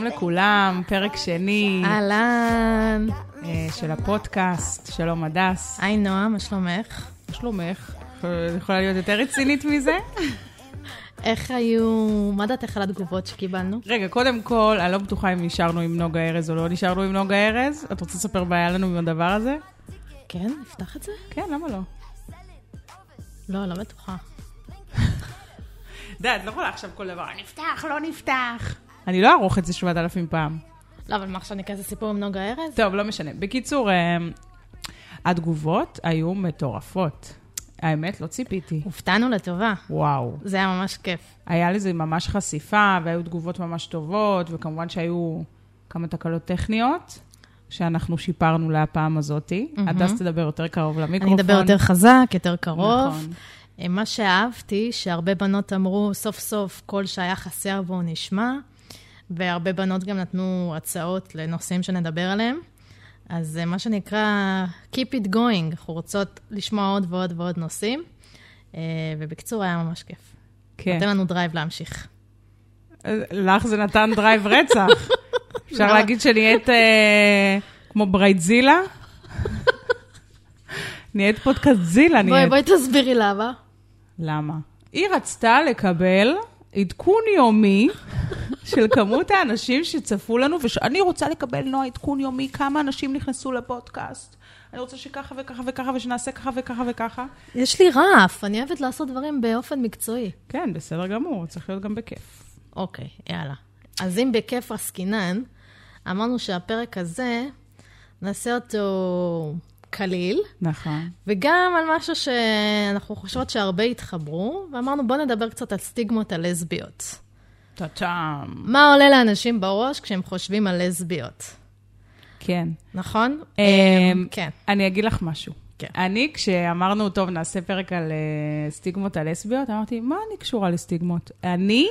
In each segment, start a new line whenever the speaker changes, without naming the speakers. לכולם, פרק שני
אהלן.
אה, של הפודקאסט, שלום הדס.
היי נועה, מה שלומך?
מה שלומך? אה, יכולה להיות יותר רצינית מזה?
איך היו, מה דעתך על התגובות שקיבלנו?
רגע, קודם כל, אני לא בטוחה אם נשארנו עם נוגה ארז או לא נשארנו עם נוגה ארז. את רוצה לספר מה היה לנו עם הדבר הזה?
כן, נפתח את זה?
כן, למה לא?
לא, לא בטוחה.
את יודעת, את לא יכולה עכשיו כל דבר, נפתח, לא נפתח. אני לא אערוך את זה 7,000 פעם.
לא, אבל מה עכשיו ניכנס לסיפור עם נוגה ארז?
טוב, לא משנה. בקיצור, אה, התגובות היו מטורפות. האמת, לא ציפיתי.
הופתענו לטובה.
וואו.
זה היה ממש כיף.
היה לזה ממש חשיפה, והיו תגובות ממש טובות, וכמובן שהיו כמה תקלות טכניות, שאנחנו שיפרנו להפעם הזאתי. הדס תדבר יותר קרוב למיקרופון.
אני אדבר יותר חזק, יותר קרוב.
נכון.
אה, מה שאהבתי, שהרבה בנות אמרו, סוף סוף קול שהיה חסר בו נשמע, והרבה בנות גם נתנו הצעות לנושאים שנדבר עליהם. אז זה מה שנקרא Keep it going, אנחנו רוצות לשמוע עוד ועוד ועוד נושאים. אה, ובקיצור, היה ממש כיף.
כן.
נותן לנו דרייב להמשיך.
לך זה נתן דרייב רצח. אפשר
לא.
להגיד שנהיית אה, כמו ברייטזילה? נהיית פודקאסט זילה,
בואי,
נהיית.
בואי תסבירי למה.
למה? היא רצתה לקבל עדכון יומי של כמות האנשים שצפו לנו, ואני רוצה לקבל, נועה, עדכון יומי, כמה אנשים נכנסו לפודקאסט. אני רוצה שככה וככה וככה, ושנעשה ככה וככה וככה.
יש לי רף, אני אוהבת לעשות דברים באופן מקצועי.
כן, בסדר גמור, צריך להיות גם בכיף.
אוקיי, יאללה. אז אם בכיף עסקינן, אמרנו שהפרק הזה, נעשה אותו קליל,
נכון.
וגם על משהו שאנחנו חושבות שהרבה התחברו, ואמרנו בואו נדבר קצת על סטיגמות הלסביות.
טאטאם.
מה עולה לאנשים בראש כשהם חושבים על לסביות,
כן.
נכון?
אמ,
כן.
אני אגיד לך משהו.
כן.
אני, כשאמרנו, טוב, נעשה פרק על אה, סטיגמות הלסביות, אמרתי, מה אני קשורה לסטיגמות? אני,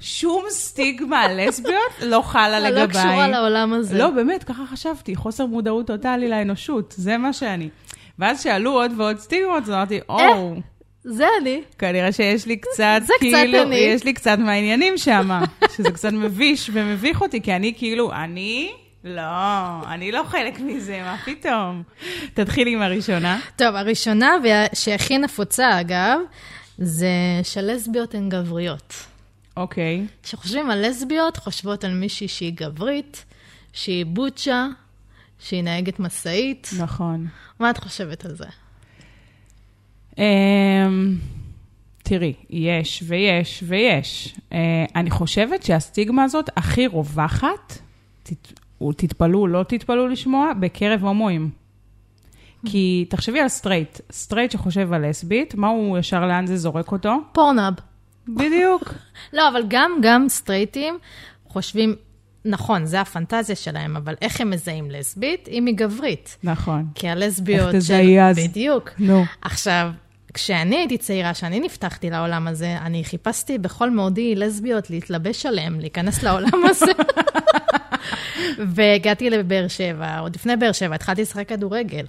שום סטיגמה על לסביות לא חלה
לא
לגביי.
קשורה לעולם הזה.
לא, באמת, ככה חשבתי, חוסר מודעות טוטאלי לאנושות, זה מה שאני. ואז שאלו עוד ועוד סטיגמות, אז אמרתי, או,
זה אני.
כנראה שיש לי קצת,
זה קצת
כאילו,
אני.
יש לי קצת מהעניינים שם, שזה קצת מביש ומביך אותי, כי אני כאילו, אני? לא, אני לא חלק מזה, מה פתאום? תתחילי עם הראשונה.
טוב, הראשונה, וה- שהכי נפוצה אגב, זה שלסביות הן גבריות.
אוקיי.
כשחושבים על לסביות, חושבות על מישהי שהיא גברית, שהיא בוצ'ה, שהיא נהגת משאית.
נכון.
מה את חושבת על זה?
אמ, תראי, יש ויש ויש. אה, אני חושבת שהסטיגמה הזאת הכי רווחת, תת- או תתפלאו, לא תתפלאו לשמוע, בקרב הומואים. כי תחשבי על סטרייט, סטרייט שחושב על לסבית, מה הוא ישר לאן זה זורק אותו?
פורנאב.
בדיוק.
לא, אבל גם, גם סטרייטים חושבים, נכון, זה הפנטזיה שלהם, אבל איך הם מזהים לסבית? אם היא גברית.
נכון.
כי הלסביות...
איך
של-
תזהי אז?
בדיוק.
נו.
עכשיו, כשאני הייתי צעירה, שאני נפתחתי לעולם הזה, אני חיפשתי בכל מאודי לסביות להתלבש עליהם, להיכנס לעולם הזה. והגעתי לבאר שבע, עוד לפני באר שבע, התחלתי לשחק כדורגל.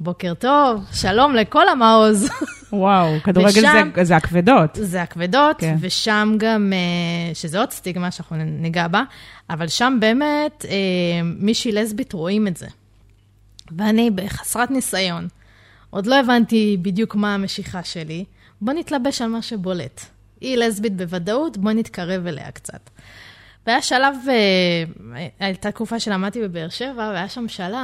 בוקר טוב, שלום לכל המעוז.
וואו, כדורגל
ושם-
זה, זה הכבדות.
זה הכבדות,
כן.
כן. ושם גם, אה, שזה עוד סטיגמה שאנחנו ניגע בה, אבל שם באמת אה, מישהי לסבית רואים את זה. ואני בחסרת ניסיון, עוד לא הבנתי בדיוק מה המשיכה שלי, בוא נתלבש על מה שבולט. היא לסבית בוודאות, בוא נתקרב אליה קצת. והיה שלב, אה, הייתה תקופה שלמדתי בבאר שבע, והיה שם שלב,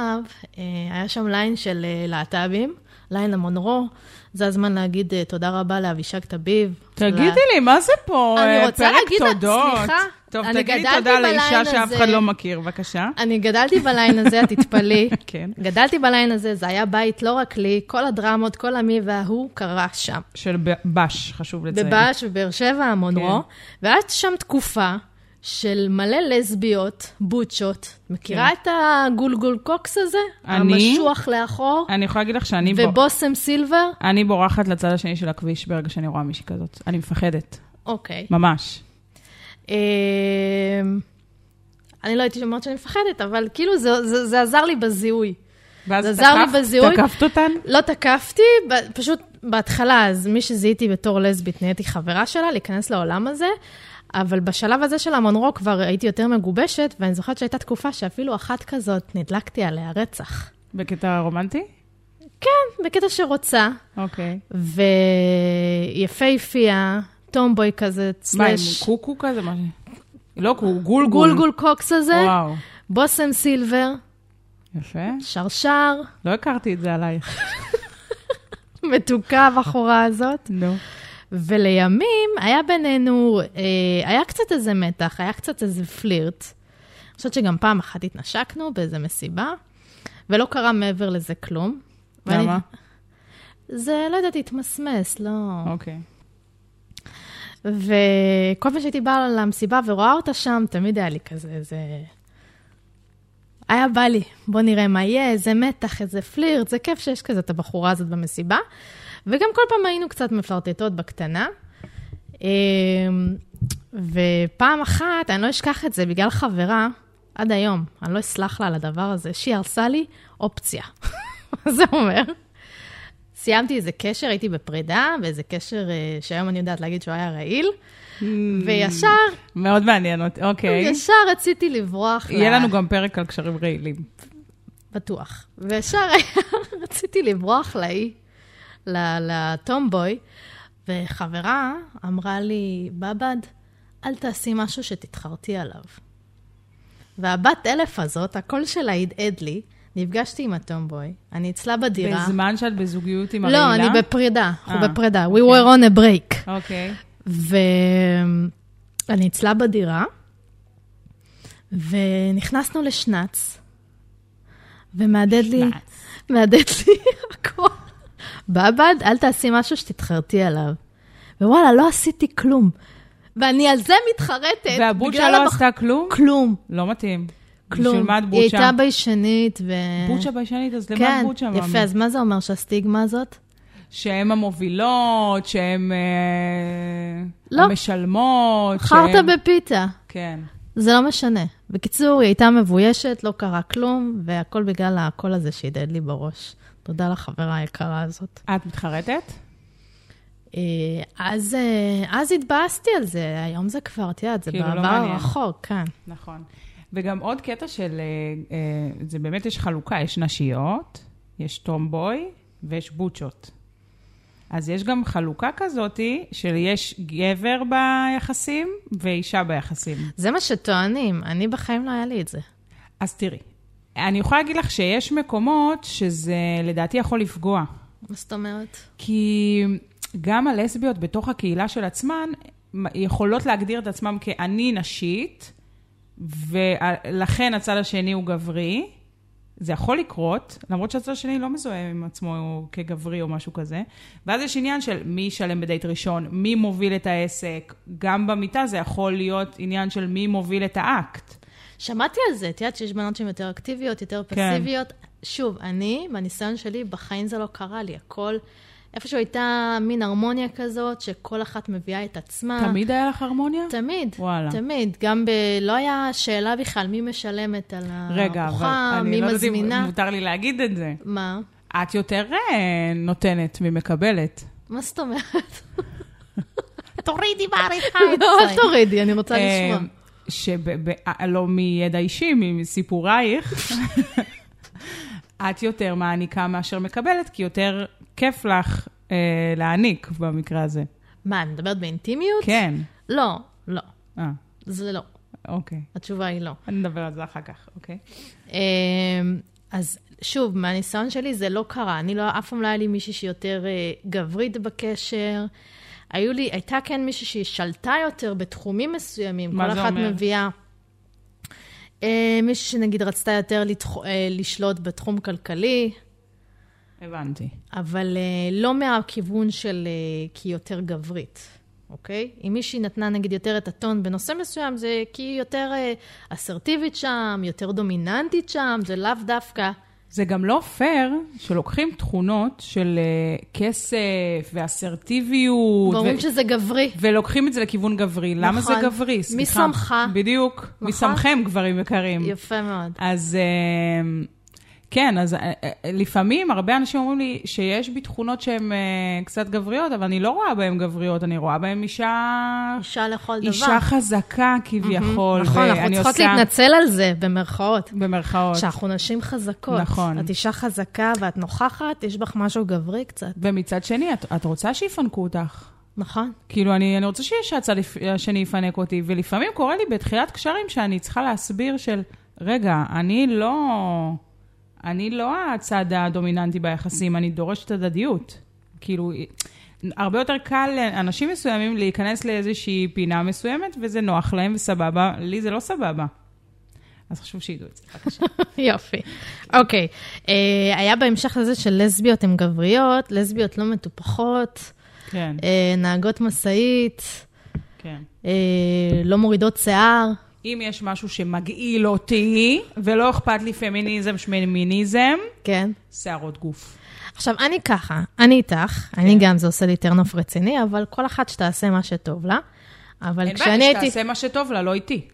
אה, היה שם ליין של אה, להט"בים, ליין למונרו, זה הזמן להגיד אה, תודה רבה לאבישג טביב.
תגידי לי, מה זה פה?
אני
אה,
רוצה
פרק
להגיד לה-
תודות.
סליחה,
טוב,
אני
תגידי
גדלתי
תודה לאישה
בליין
שאף
הזה.
אחד לא מכיר, בבקשה.
אני גדלתי בליין הזה, את תתפלאי.
כן.
גדלתי בליין הזה, זה היה בית לא רק לי, כל הדרמות, כל המי וההוא קרה שם.
של ב- בש, חשוב לציין.
בבאש ובאר שבע, המונרו,
כן.
והיה שם תקופה של מלא לסביות, בוצ'ות. מכירה את הגולגול קוקס הזה?
כן. אני-
המשוח לאחור,
אני יכולה להגיד לך שאני, ב...
ובושם סילבר?
אני בורחת לצד השני של הכביש ברגע שאני רואה מישהי כזאת. אני מפחדת,
אוקיי.
ממש.
אמ, אני לא הייתי אומרת שאני מפחדת, אבל כאילו זה- זה זה עזר לי בזיהוי.
ואז
זה עזר לי
תקפת-
בזיהוי.
תקפת אותן?
לא תקפתי, ב- פשוט בהתחלה, אז מי שזיהיתי בתור לסבית, נהייתי חברה שלה, להיכנס לעולם הזה, אבל בשלב הזה של המונרו כבר הייתי יותר מגובשת, ואני זוכרת שהייתה תקופה שאפילו אחת כזאת נדלקתי עליה רצח. כן,
בקטע רומנטי?
בקטע שרוצה,
אוקיי.
ויפהפייה, טומבוי כזה,
מה, עם
סלאש,
קוקו כזה? מה ש- לא קוקו, גולגול.
גולגול קוקס הזה,
וואו,
בושם סילבר,
יפה.
שרשר,
לא הכרתי את זה עלייך.
מתוקה הבחורה הזאת.
נו.
ולימים היה בינינו, אה, היה קצת איזה מתח, היה קצת איזה פלירט. אני חושבת שגם פעם אחת התנשקנו באיזה מסיבה, ולא קרה מעבר לזה כלום. ואני-
למה?
זה, לא יודעת, התמסמס, לא...
אוקיי.
וכל פעם שהייתי באה למסיבה ורואה אותה שם, תמיד היה לי כזה, איזה... היה בא לי, בוא נראה מה יהיה, איזה מתח, איזה פלירט, זה כיף שיש כזה את הבחורה הזאת במסיבה. וגם כל פעם היינו קצת מפלרטטות בקטנה. אמ, ופעם אחת, אני לא אשכח את זה, בגלל חברה, עד היום, אני לא אסלח לה על הדבר הזה, שהיא הרסה לי אופציה. מה זה אומר? סיימתי איזה קשר, הייתי בפרידה, ואיזה קשר אה, שהיום אני יודעת להגיד שהוא היה רעיל, וישר,
מאוד מעניין אותי, Mm, אוקיי.
ישר רציתי לברוח.
יהיה
ל-
לנו גם פרק על קשרים רעילים.
בטוח. וישר היה- רציתי לברוח לאי, ל- לטומבוי, וחברה אמרה לי, בבד, אל תעשי משהו שתתחרתי עליו. והבת אלף הזאת, הקול שלה הדהד לי, נפגשתי עם הטומבוי, אני אצלה בדירה.
בזמן שאת בזוגיות עם הרעילה?
לא, אני בפרידה,
אה,
אנחנו בפרידה. We were on a break.
אוקיי.
ואני אצלה בדירה, ונכנסנו לשנץ, ומהדהד לי, מהדהד לי הכל. בבד, אל תעשי משהו שתתחרתי עליו. ווואלה, לא עשיתי כלום. ואני על זה מתחרטת.
והבוצ'ה
אה, בגלל
לא
הבח-
עשה כלום?
כלום,
לא מתאים.
כלום.
בשביל מה את
היא
בוצ'ה?
הייתה ביישנית ו...
בוצ'ה ביישנית, אז למה
כן,
את בוצ'ה? מאמי?
יפה, אז מה זה אומר שהסטיגמה הזאת?
שהן המובילות, שהן אה,
לא.
המשלמות.
חרטה
שהן-
בפיתה.
כן.
זה לא משנה. בקיצור, היא הייתה מבוישת, לא קרה כלום, והכל בגלל הקול הזה שהדהד לי בראש. תודה לחברה היקרה הזאת.
את מתחרטת?
אה, אז, אה, אז התבאסתי על זה, היום זה כבר, את יודעת, זה
כאילו, לא
בעבר
מעניין.
הרחוק, כן.
נכון. וגם עוד קטע של, אה, אה, זה באמת יש חלוקה, יש נשיות, יש טומבוי ויש בוצ'ות. אז יש גם חלוקה כזאתי של יש גבר ביחסים ואישה ביחסים.
זה מה שטוענים, אני בחיים לא היה לי את זה.
אז תראי, אני יכולה להגיד לך שיש מקומות שזה לדעתי יכול לפגוע.
מה זאת אומרת?
כי גם הלסביות בתוך הקהילה של עצמן יכולות להגדיר את עצמן כ"אני נשית", ולכן הצד השני הוא גברי. זה יכול לקרות, למרות שהצד השני לא מזוהה עם עצמו כגברי או משהו כזה. ואז יש עניין של מי ישלם בדייט ראשון, מי מוביל את העסק. גם במיטה זה יכול להיות עניין של מי מוביל את האקט.
שמעתי על זה, את יודעת שיש בנות שהן יותר אקטיביות, יותר
כן.
פסיביות. שוב, אני, בניסיון שלי, בחיים זה לא קרה לי, הכל... איפשהו הייתה מין הרמוניה כזאת, שכל אחת מביאה את עצמה.
תמיד היה לך הרמוניה?
תמיד,
וואלה.
תמיד. גם ב... לא היה שאלה בכלל מי משלמת על
רגע, אבל
הארוחה,
אני
מי
לא יודעת אם
מזמינה.
מותר לי להגיד את זה.
מה?
את יותר אה, נותנת ממקבלת.
מה זאת אומרת?
תורידי בעריכה אה,
לא, אל תורידי, אני רוצה לשמוע.
שלא אה, לא מידע אישי, מסיפורייך, את יותר מעניקה מאשר מקבלת, כי יותר כיף לך אה, להעניק במקרה הזה.
מה, אני מדברת באינטימיות?
כן.
לא, לא.
אה,
זה לא.
אוקיי.
התשובה היא לא.
נדבר על זה אחר כך, אוקיי?
אמ, אז שוב, מהניסיון שלי זה לא קרה. אני לא, אף פעם לא היה לי מישהי שיותר אה, גברית בקשר. היו לי, הייתה כן מישהי שהיא שלטה יותר בתחומים מסוימים.
מה
כל
זה
אחת
אומר?
מביאה. אה, מישהי שנגיד רצתה יותר לתח... אה, לשלוט בתחום כלכלי,
הבנתי.
אבל אה, לא מהכיוון של אה, כי היא יותר גברית, אוקיי? אם מישהי נתנה נגיד יותר את הטון בנושא מסוים, זה כי היא יותר אה, אסרטיבית שם, יותר דומיננטית שם, זה לאו דווקא.
זה גם לא פייר שלוקחים תכונות של אה, כסף ואסרטיביות.
ואומרים
ו-
שזה גברי.
ולוקחים את זה לכיוון גברי. נכון. למה זה
נכון.
גברי?
מי
סליחה.
שמך?
בדיוק. מי
נכון.
שמכם, גברים יקרים.
יפה מאוד.
אז אה, כן, אז אה, אה, לפעמים הרבה אנשים אומרים לי שיש בי תכונות שהן אה, קצת גבריות, אבל אני לא רואה בהן גבריות, אני רואה בהן אישה...
אישה לכל דבר.
אישה חזקה כביכול.
נכון, אנחנו
ואני
צריכות
עושה-
להתנצל על זה, במרכאות.
במרכאות.
שאנחנו נשים חזקות.
נכון.
את אישה חזקה ואת נוכחת, יש בך משהו גברי קצת,
ומצד שני, את, את רוצה שיפנקו אותך.
נכון?
כאילו, אני, אני רוצה שיש שהצד יפ- השני יפנק אותי, ולפעמים קורה לי בתחילת קשרים שאני צריכה להסביר של, רגע, אני לא... אני לא הצד הדומיננטי ביחסים, אני דורשת הדדיות. כאילו, הרבה יותר קל לאנשים מסוימים להיכנס לאיזושהי פינה מסוימת, וזה נוח להם וסבבה, לי זה לא סבבה. אז חשוב שידעו את זה, בבקשה.
יופי. אוקיי, אה, היה בהמשך לזה שלסביות הן גבריות, לסביות לא מטופחות,
כן,
אה, נהגות משאית,
כן.
אה, לא מורידות שיער.
אם יש משהו שמגעיל אותי, ולא אכפת לי פמיניזם, שמיניזם,
כן.
שערות גוף.
עכשיו, אני ככה, אני איתך,
כן.
אני גם, זה עושה לי טרנוף רציני, אבל כל אחת שתעשה מה שטוב לה. אבל
אין בעיה,
כשאני הייתי...
שתעשה מה שטוב לה, לא איתי.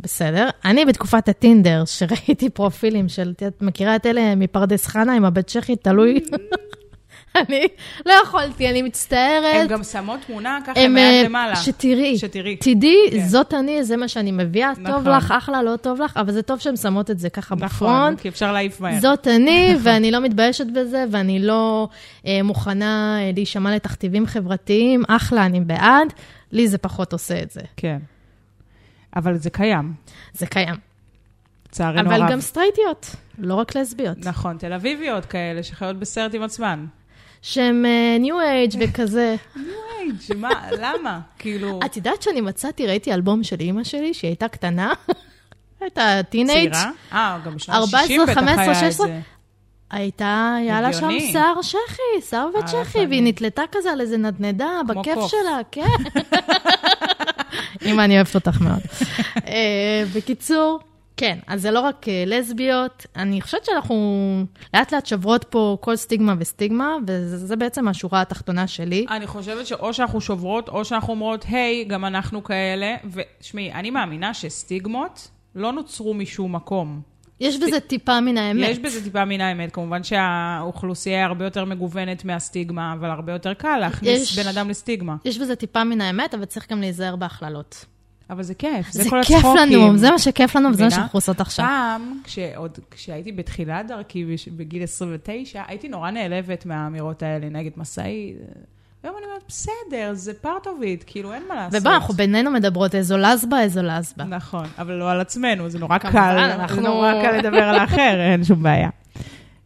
בסדר. אני בתקופת הטינדר, שראיתי פרופילים של, את מכירה את אלה מפרדס חנה עם הבת צ'כית, תלוי.
Mm.
אני לא יכולתי, אני
הן
מצטערת.
גם שמות תמונה ככה
אה, הם,
מעט
אה,
למעלה.
שתראי,
שתראי.
תדעי,
כן.
זאת אני, זה מה שאני מביאה, טוב
נכון.
לך, אחלה, לא טוב לך, אבל זה טוב שהן שמות את זה ככה
נכון,
בפרונט.
כי אפשר להעיף מהר.
זאת אני, ואני לא מתביישת בזה, ואני לא אה, מוכנה אה, להישמע לתכתיבים חברתיים, אחלה, אני בעד, לי זה פחות עושה את זה.
כן. אבל זה קיים,
זה קיים.
לצערנו הרב.
אבל גם סטרייטיות, לא רק לסביות.
נכון, תל אביביות כאלה שחיות בסרט עם עצמן.
שהם ניו אייג' וכזה.
וואי, שמה, למה? כאילו,
את יודעת שאני מצאתי, ראיתי אלבום של אימא שלי, שהיא הייתה קטנה, הייתה טינאייג',
צעירה? אה, גם בשנות
14,
ה-60 בטח
15,
היה את
16.
זה.
הייתה, היה לה שם
הגיוני.
שיער שחי, שיער
אה,
וצ'כי,
יפה.
והיא נתלתה כזה על איזה נדנדה,
כמו
בכיף
קוף.
שלה, כן. אימא, אני אוהבת אותך מאוד. אה, בקיצור, כן, אז זה לא רק אה, לסביות, אני חושבת שאנחנו לאט לאט שוברות פה כל סטיגמה וסטיגמה, וזה זה בעצם השורה התחתונה שלי.
אני חושבת שאו שאנחנו שוברות, או שאנחנו אומרות, היי, גם אנחנו כאלה. ושמעי, אני מאמינה שסטיגמות לא נוצרו משום מקום.
יש בזה טיפה מן האמת.
יש בזה טיפה מן האמת. כמובן שהאוכלוסייה הרבה יותר מגוונת מהסטיגמה, אבל הרבה יותר קל להכניס
יש-
יש... בן אדם לסטיגמה.
יש בזה טיפה מן האמת, אבל צריך גם להיזהר בהכללות.
אבל זה כיף, זה,
זה
כל
כיף
הצחוקים.
לנו, זה מה שכיף לנו וזה מה
מבינה? אה,
שאנחנו עושות עכשיו.
פעם, כשעוד, כשהייתי בתחילת דרכי, בש- בגיל 29, הייתי נורא נעלבת מהאמירות האלה נגד משאית. היום אני אומרת, בסדר, זה part of it, כאילו, אין מה לעשות.
ובוא, אנחנו בינינו מדברות איזו לסבה, איזו לסבה.
נכון, אבל לא על עצמנו, זה נורא קל.
כמובן, אנחנו-
זה נורא קל לדבר על האחר, אין שום בעיה.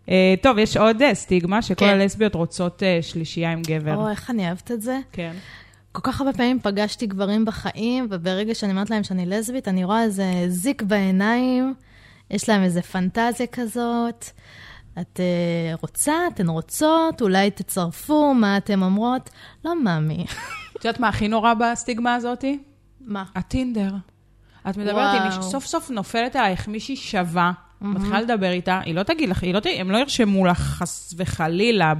אה, טוב, יש עוד אה, סטיגמה, שכל
כן.
הלסביות רוצות אה, שלישייה עם גבר.
או, איך אני אוהבת את זה.
כן.
כל כך הרבה פעמים פגשתי גברים בחיים, וברגע שאני אומרת להם שאני לסבית, אני רואה איזה זיק בעיניים, יש להם איזה פנטזיה כזאת. את אה, רוצה, אתן רוצות, אולי תצרפו, מה אתן אומרות? לא, מאמי.
את יודעת מה הכי נורא בסטיגמה הזאתי?
מה?
הטינדר. את מדברת
וואו.
עם מישהי, סוף סוף נופלת עלייך מישהי שווה, מתחילה לדבר איתה, היא לא תגיד לך, היא לא ת... הם לא ירשמו לך חס וחלילה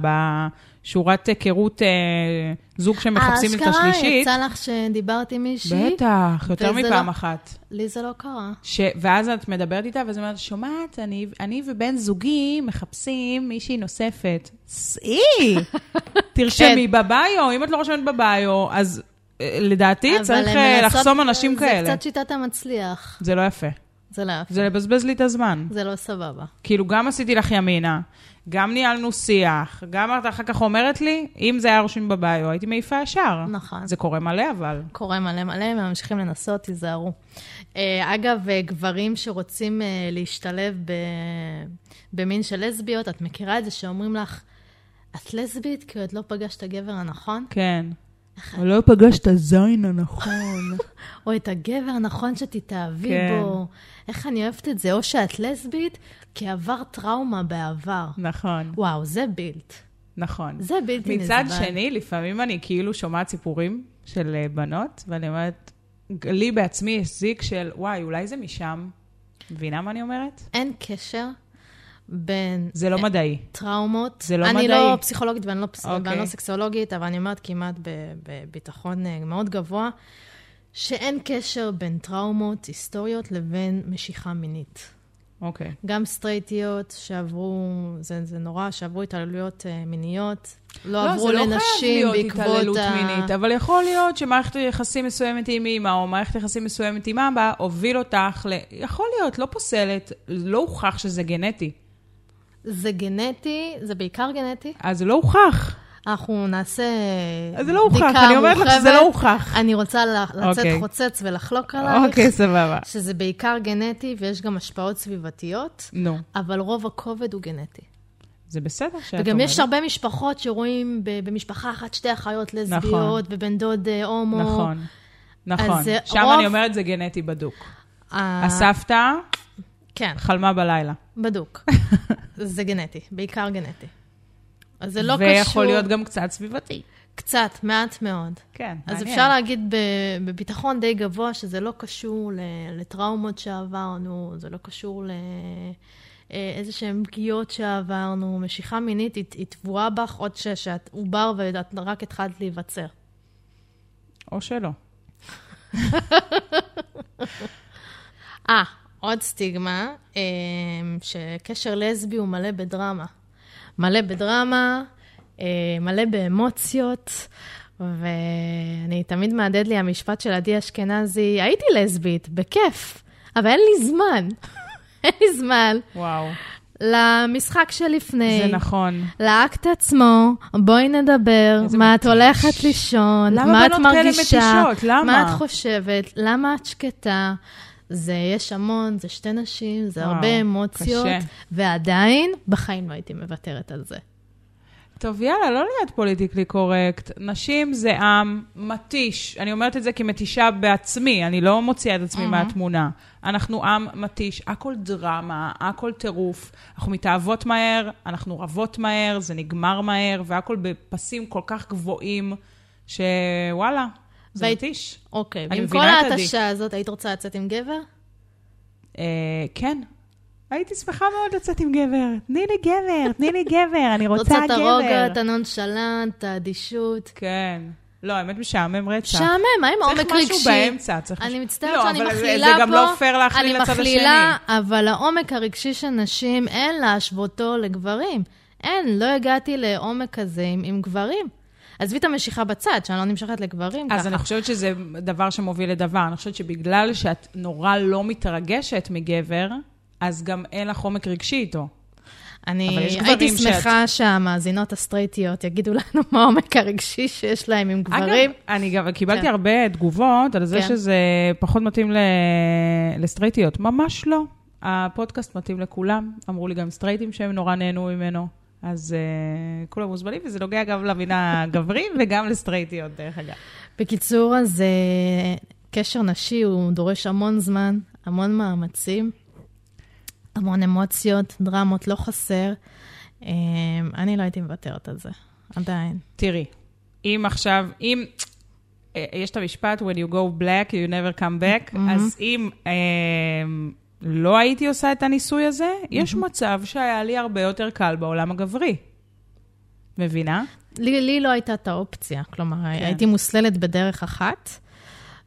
בשורת היכרות אה, זוג שמחפשים את
האשכרה
השלישית.
יצא לך שדיברתי עם מישהי,
בטח, יותר
וזה
מפעם
לא-
אחת.
לי זה לא קרה.
ש... ואז את מדברת איתה, ואז היא אומרת, שומעת, אני, אני ובן זוגי מחפשים מישהי נוספת. סעי!
כן.
תרשמי בביו, אם את לא רושמת בביו, אז אה, לדעתי
אבל
צריך
הן
אה,
מנסות-
לחסום אנשים
זה
כאלה.
קצת שיטת המצליח,
זה לא יפה.
זה לא יפה,
זה לבזבז לי את הזמן.
זה לא סבבה.
כאילו, גם עשיתי לך ימינה, גם ניהלנו שיח, גם את אחר כך אומרת לי, אם זה היה רושם בביו, הייתי מעיפה ישר.
נכון.
זה קורה מלא, אבל.
קורה מלא מלא, הם ממשיכים לנסות, תיזהרו. אה, אגב, אה, גברים שרוצים אה, להשתלב ב... במין של לסביות, את מכירה את זה שאומרים לך, את לסבית כי עוד לא פגשת את הגבר הנכון,
כן.
נכון.
לא פגשת את הזין הנכון.
או את הגבר הנכון שתתאהבי
כן.
בו. איך אני אוהבת את זה, או שאת לסבית כי עברת טראומה בעבר.
נכון.
וואו, זה בילט.
נכון.
זה בלתי
מצד
נסבל.
שני, לפעמים אני כאילו שומעת סיפורים של אה, בנות, ואני אומרת, ג- לי בעצמי יש זיק של, וואי, אולי זה משם. מבינה מה אני אומרת?
אין קשר בין
זה לא מדעי.
טראומות.
זה לא
אני
מדעי.
לא פסיכולוגית ואני לא, פס...
אוקיי.
ואני לא סקסולוגית, אבל אני אומרת כמעט ב- בביטחון אה, מאוד גבוה, שאין קשר בין טראומות היסטוריות לבין משיכה מינית.
אוקיי.
גם סטרייטיות שעברו, זה, זה נורא, שעברו התעללויות אה, מיניות, לא,
לא,
עברו
זה לא
לנשים
חייב להיות
בעקבות
התעללות
ה...
מינית, אבל יכול להיות שמערכת יחסים מסוימת עם אימא, או מערכת יחסים מסוימת עם אבא, הוביל אותך ל... יכול להיות, לא פוסלת, לא הוכח שזה גנטי.
זה גנטי, זה בעיקר גנטי.
אז זה לא הוכח.
אנחנו נעשה
אז זה לא הוכח,
בדיקה
אני אומרת לך שזה לא
מורחבת.
הוכח.
אני רוצה ל- לצאת
אוקיי.
חוצץ ולחלוק עלייך,
אוקיי, סבבה.
שזה בעיקר גנטי ויש גם השפעות סביבתיות,
נו,
אבל רוב הכובד הוא גנטי.
זה בסדר שאת אומרת.
וגם יש הרבה משפחות שרואים ב- במשפחה אחת שתי אחיות לסביות,
נכון.
ובן דוד אה, הומו.
נכון, נכון.
אז זה
שם
רוב-
אני אומרת זה גנטי בדוק.
אה,
הסבתא
כן,
חלמה בלילה.
בדוק. זה גנטי, בעיקר גנטי. אז זה לא קשור...
ויכול להיות גם קצת סביבתי.
קצת, מעט מאוד.
כן,
אז
מעניין.
אפשר להגיד ב- בביטחון די גבוה שזה לא קשור ל- לטראומות שעברנו, זה לא קשור לאיזה שהן פגיעות שעברנו. משיכה מינית היא, היא טבועה בך עוד ש- שאת עובר ואת רק התחלת להיווצר.
או שלא.
אה, עוד סטיגמה, אמ, שקשר לסבי הוא מלא בדרמה. מלא בדרמה, אה, מלא באמוציות, ואני תמיד מהדהד לי המשפט של עדי אשכנזי, הייתי לסבית, בכיף, אבל אין לי זמן. אין לי זמן
וואו,
למשחק שלפני.
זה נכון.
לאקט עצמו, בואי נדבר,
איזה
מה את
מתיש.
הולכת לישון,
למה
מה את
בנות כאלה
מרגישה,
מתישות? למה?
מה את חושבת, למה את שקטה. זה, יש המון, זה שתי נשים, זה
וואו,
הרבה אמוציות,
קשה.
ועדיין, בחיים לא הייתי מוותרת על זה.
טוב, יאללה, לא להיות פוליטיקלי קורקט. נשים זה עם מתיש. אני אומרת את זה כמתישה בעצמי, אני לא מוציאה את עצמי מהתמונה. אנחנו עם מתיש, הכל דרמה, הכל טירוף. אנחנו מתאהבות מהר, אנחנו רבות מהר, זה נגמר מהר, והכל בפסים כל כך גבוהים, שוואלה, זה
והי-
מתיש.
אוקיי,
אני
ועם כל
מבינה את עדי.
ההתשה הזאת, היית רוצה לצאת עם גבר?
אה, כן. הייתי שמחה מאוד לצאת עם גבר. תני לי גבר, תני לי גבר, אני רוצה
רוצה את הרוגע,
גבר.
את הנונשלנט, את האדישות.
כן. לא, האמת משעמם רצח.
משעמם, מה עם העומק
צריך
רגשי?
משהו באמצע, צריך
אני
משהו-
מצטערת
לא,
שאני
אבל זה-
מכלילה פה.
זה גם לא פייר להכליל לצד
אני מכלילה, אבל העומק הרגשי של נשים, אין להשוותו לגברים. אין, לא הגעתי לעומק כזה עם, עם גברים. עזבי את המשיכה בצד, שאני לא נמשכת לגברים
אז
ככה.
אני חושבת שזה דבר שמוביל לדבר. אני חושבת שבגלל שאת נורא לא מתרגשת מגבר, אז גם אין לך עומק רגשי איתו. אבל
אני
יש גברים
הייתי
שאת-
שמחה שהמאזינות הסטרייטיות יגידו לנו מה העומק הרגשי שיש להם עם גברים.
אגב, אני גם קיבלתי
כן.
הרבה תגובות על זה
כן.
שזה פחות מתאים ל... לסטרייטיות. ממש לא. הפודקאסט מתאים לכולם. אמרו לי גם סטרייטים שהם נורא נהנו ממנו. אז uh, כולם מוזמנים, וזה נוגע גם למדינה גברים וגם לסטרייטיות, דרך אגב.
בקיצור, אז אה, קשר נשי הוא דורש המון זמן, המון מאמצים, המון אמוציות, דרמות, לא חסר. אה, אני לא הייתי מוותרת על זה, עדיין.
תראי, אם עכשיו, אם... אה, יש את המשפט, When you go black, you never come back,
Mm-hmm.
אז אם אה, לא הייתי עושה את הניסוי הזה,
Mm-hmm.
יש מצב שהיה לי הרבה יותר קל בעולם הגברי. מבינה?
לי, לי לא הייתה את האופציה, כלומר, כן. הייתי מוסללת בדרך אחת,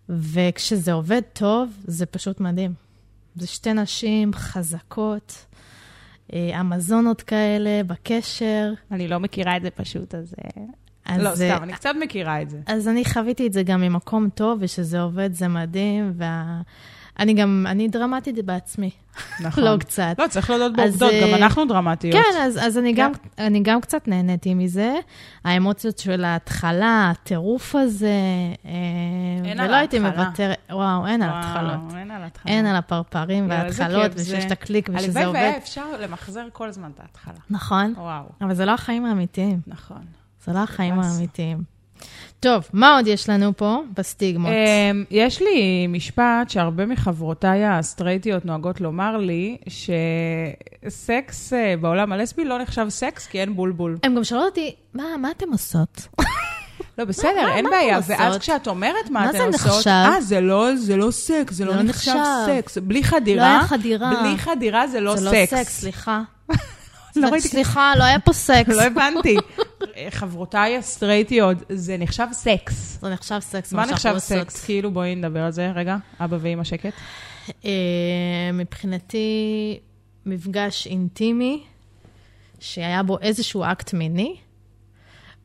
וכשזה עובד טוב, זה פשוט מדהים. זה שתי נשים חזקות, אה, אמזונות כאלה, בקשר.
אני לא מכירה את זה פשוט, אז...
אז,
לא,
אה,
סתם, אני קצת מכירה את זה.
אז אני חוויתי את זה גם ממקום טוב, ושזה עובד, זה מדהים, וה... אני גם, אני דרמטית בעצמי,
נכון.
לא קצת.
לא, צריך להודות
אז,
בעובדות, גם
אה,
אנחנו דרמטיות.
כן, אז, אז אני, גם, אני גם קצת נהניתי מזה. האמוציות של ההתחלה, הטירוף הזה, אה,
אין על
ולא הייתי
ההתחלה.
מוותרת. וואו, כן, אין על
וואו,
התחלות.
אין על התחלות.
אין על הפרפרים
יואו, איזה
וההתחלות,
כיף
ושיש
זה.
את הקליק ושזה
הלוואי
עובד.
והיה אפשר למחזר כל הזמן את ההתחלה.
נכון,
וואו,
אבל זה לא החיים האמיתיים.
נכון.
זה לא החיים
באסה.
האמיתיים. טוב, מה עוד יש לנו פה בסטיגמות?
אמ, יש לי משפט שהרבה מחברותיי הסטרייטיות נוהגות לומר לי, שסקס אה, בעולם הלסבי לא נחשב סקס כי אין בולבול.
הם גם שאלו אותי, מה, מה אתם עושות?
לא, בסדר,
מה-
אין
מה
בעיה.
אתן
ואז
עושות?
כשאת אומרת
מה
מה אתן
זה
עושות...
נחשב?
אה, זה לא- זה לא סקס, זה לא
לא
נחשב
נחשב.
סקס. בלי חדירה?
לא היה חדירה.
בלי חדירה זה לא
זה
סקס.
לא סקס, סליחה.
לא
סק-
ראיתי-
סליחה, לא היה פה סקס.
לא הבנתי. חברותיי הסטרייטיות, זה נחשב סקס.
זה נחשב סקס,
מה
שאנחנו
נחשב
עושות.
סקס? כאילו, בואי נדבר על זה רגע, אבא ואמא שקט.
אה, מבחינתי, מפגש אינטימי, שהיה בו איזשהו אקט מיני,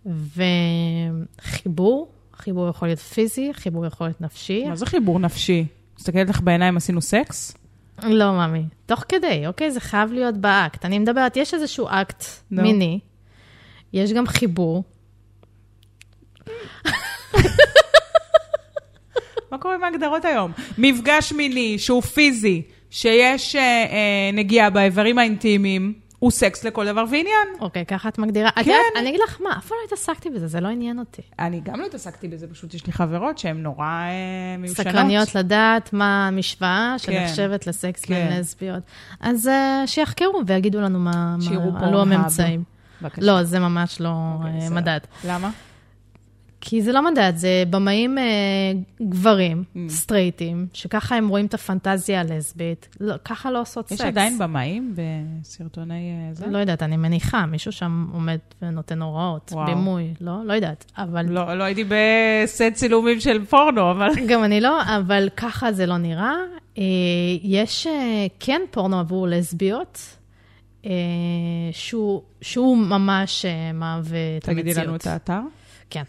וחיבור, חיבור יכול להיות פיזי, חיבור יכול להיות נפשי.
מה זה חיבור נפשי? מסתכלת לך בעיניים, עשינו סקס?
לא, מאמי. תוך כדי, אוקיי? זה חייב להיות באקט. אני מדברת, יש איזשהו אקט
נו.
מיני, יש גם חיבור.
מה קורה עם ההגדרות היום? מפגש מיני שהוא פיזי, שיש אה, אה, נגיעה באיברים האינטימיים, הוא סקס לכל דבר ועניין.
אוקיי, ככה את מגדירה. את
כן.
יודעת, אני אגיד לך מה, אף פעם לא התעסקתי בזה, זה לא עניין אותי.
אני גם לא התעסקתי בזה, פשוט יש לי חברות שהן נורא אה, מיושנות.
סקרניות לדעת מה המשוואה
כן.
שנחשבת לסקס
כן.
ולסביות. אז אה, שיחקרו ויגידו לנו מה מה
שיראו פה
עלו
האב.
הממצאים.
בבקשה.
לא, זה ממש לא
אוקיי,
אה,
בסדר.
מדד.
למה?
כי זה לא מדד, זה במאים אה, גברים,
Mm.
סטרייטים, שככה הם רואים את הפנטזיה הלסבית, לא, ככה לא עושות סקס.
יש עדיין במאים בסרטוני אה, זה?
לא יודעת, אני מניחה, מישהו שם עומד ונותן הוראות,
וואו.
בימוי, לא? לא יודעת. אבל
לא, לא הייתי בסט צילומים של פורנו, אבל...
גם אני לא, אבל ככה זה לא נראה. אה, יש אה, כן פורנו עבור לסביות, אה, שהוא, שהוא ממש אה, מהווה את המציאות.
תגידי לנו את האתר.
כן.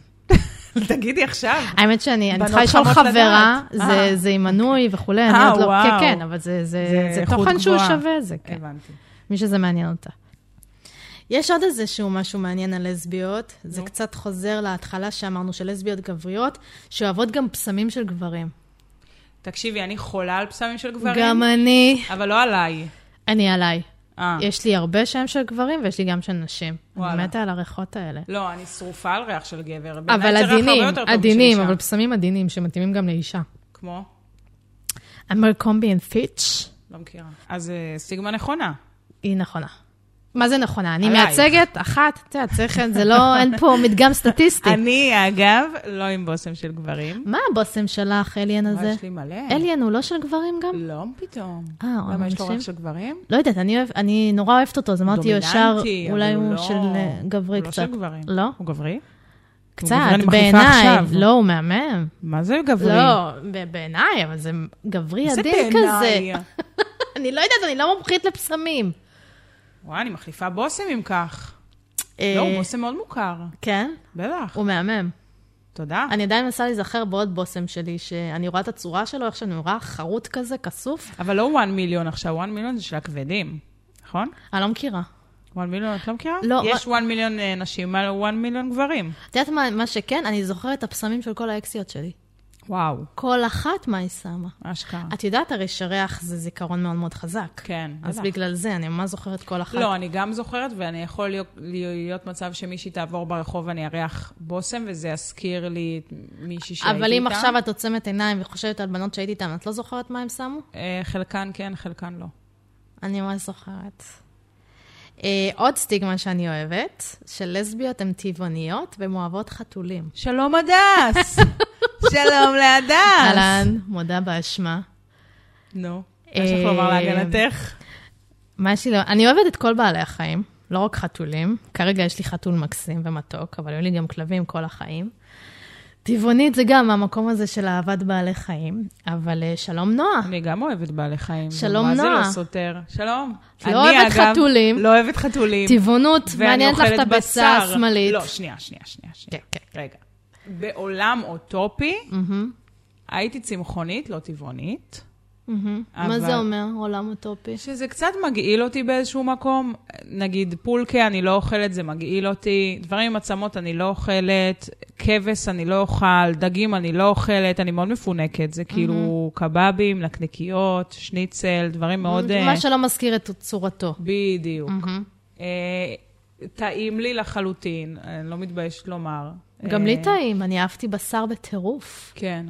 תגידי עכשיו.
האמת שאני אני
בנות
צריכה לשאול
חמות
חברה,
לדעת.
זה-
אה.
זה עם מנוי וכולי,
אה,
אני עוד לא... כן,
וואו.
כן, אבל זה- זה
זה
זה
איכות
תוכן שהוא
גבוהה.
שווה זה, כן.
הבנתי.
מי שזה מעניין אותה. יש עוד איזשהו משהו מעניין על לסביות, זה קצת חוזר להתחלה שאמרנו של לסביות גבריות, שאוהבות גם פסמים של גברים.
תקשיבי, אני חולה על פסמים של גברים,
גם אני.
אבל לא עליי.
אני עליי.
אה.
יש לי הרבה שהם של גברים ויש לי גם של נשים. אני
וואלה.
מתה על הריחות האלה.
לא, אני שרופה על ריח של גבר. בעיניי
אבל
זה ריח הרבה
עדינים,
יותר טוב משל
עדינים,
אישה.
אבל פסמים עדינים שמתאימים גם לאישה.
כמו?
אמר קומבי אנד פיץ'
לא מכירה. אז אה, סטיגמה נכונה.
היא נכונה. מה זה נכונה? אני
עלייך.
מייצגת אחת, את יודעת, צריך, זה לא, אין פה מדגם סטטיסטי.
אני, אגב, לא עם בושם של גברים.
מה הבושם שלך, אליאן
אבל
הזה?
יש לי מלא.
אליאן הוא לא של גברים גם?
לא, פתאום.
אה,
למה יש לו
אנשים?
ריח של גברים?
לא יודעת, אני אוהב- אני נורא אוהבת אותו, אז אמרתי ישר,
דומיננטי, אבל
אולי
הוא
הוא
לא-
של אה, גברי
הוא לא
קצת.
של גברים.
לא?
הוא גברי?
קצת,
גברי, אני מחליפה
בעיניי.
עכשיו.
לא, הוא מהמם.
מה זה גברי?
לא, ב- בעיניי, אבל זה גברי
זה
עדין כזה.
בעיניי.
אני לא יודעת, אני לא מומחית לפסמים.
וואי, אני מחליפה בושם אם כך.
אה,
לא, הוא בושם מאוד מוכר.
כן?
בטח.
הוא מהמם.
תודה.
אני עדיין מנסה להיזכר בעוד בושם שלי, שאני רואה את הצורה שלו, איך שאני רואה חרוט כזה, כסוף.
אבל לא 1 מיליון עכשיו, 1 מיליון זה של הכבדים, נכון?
אני לא מכירה.
1 מיליון, את לא מכירה?
לא,
יש 1 מיליון אה, נשים, מה לא 1 מיליון גברים.
את יודעת מה, מה שכן? אני זוכרת את הפסמים של כל האקסיות שלי.
וואו,
כל אחת מה היא שמה.
אשכרה.
את יודעת, הרי שריח זה זיכרון מאוד מאוד חזק.
כן,
אז
בטח.
בגלל זה, אני ממש זוכרת כל אחת.
לא, אני גם זוכרת, ואני יכול להיות, להיות מצב שמישהי תעבור ברחוב ואני אריח בושם, וזה יזכיר לי את מישהי שהייתי איתה.
אבל אם עכשיו את עוצמת עיניים וחושבת על בנות שהייתי איתן, את לא זוכרת מה הם שמו?
אה, חלקן כן, חלקן לא.
אני ממש זוכרת. אה, עוד סטיגמה שאני אוהבת, שלסביות הן טבעוניות והן אוהבות חתולים.
שלום הדס! שלום להדס!
אהלן, מודה באשמה.
נו, יש לך לומר
אה,
להגנתך?
מה יש לי? ל- אני אוהבת את כל בעלי החיים, לא רק חתולים. כרגע יש לי חתול מקסים ומתוק, אבל היו לי גם כלבים כל החיים. טבעונית זה גם המקום הזה של אהבת בעלי חיים, אבל אה, שלום נועה.
אני גם אוהבת בעלי חיים.
שלום,
מה זה לא
נועה.
סותר? שלום.
את לא
אני,
אוהבת
אגב,
חתולים.
לא אוהבת חתולים.
טבעונות,
ואני
מעניינת לך את
אוכלת
הביצה
בשר.
השמאלית.
לא, שנייה, שנייה, שנייה.
כן,
שנייה.
כן.
רגע. בעולם אוטופי,
מהמם,
הייתי צמחונית, לא טבעונית.
מהמם. מה
אבל-
זה אומר, עולם אוטופי?
שזה קצת מגעיל אותי באיזשהו מקום. נגיד פולקה, אני לא אוכלת, זה מגעיל אותי. דברים עם עצמות, אני לא אוכלת. כבש, אני לא אוכל. דגים, אני לא אוכלת. אני מאוד מפונקת. זה כאילו קבבים, נקניקיות, שניצל, דברים מאוד... אה,
מה שלא מזכיר את צורתו.
בדיוק.
מהמם.
אה, טעים לי לחלוטין, אני לא מתביישת לומר.
גם
אה,
לי טעים, אני אהבתי בשר בטירוף.
כן.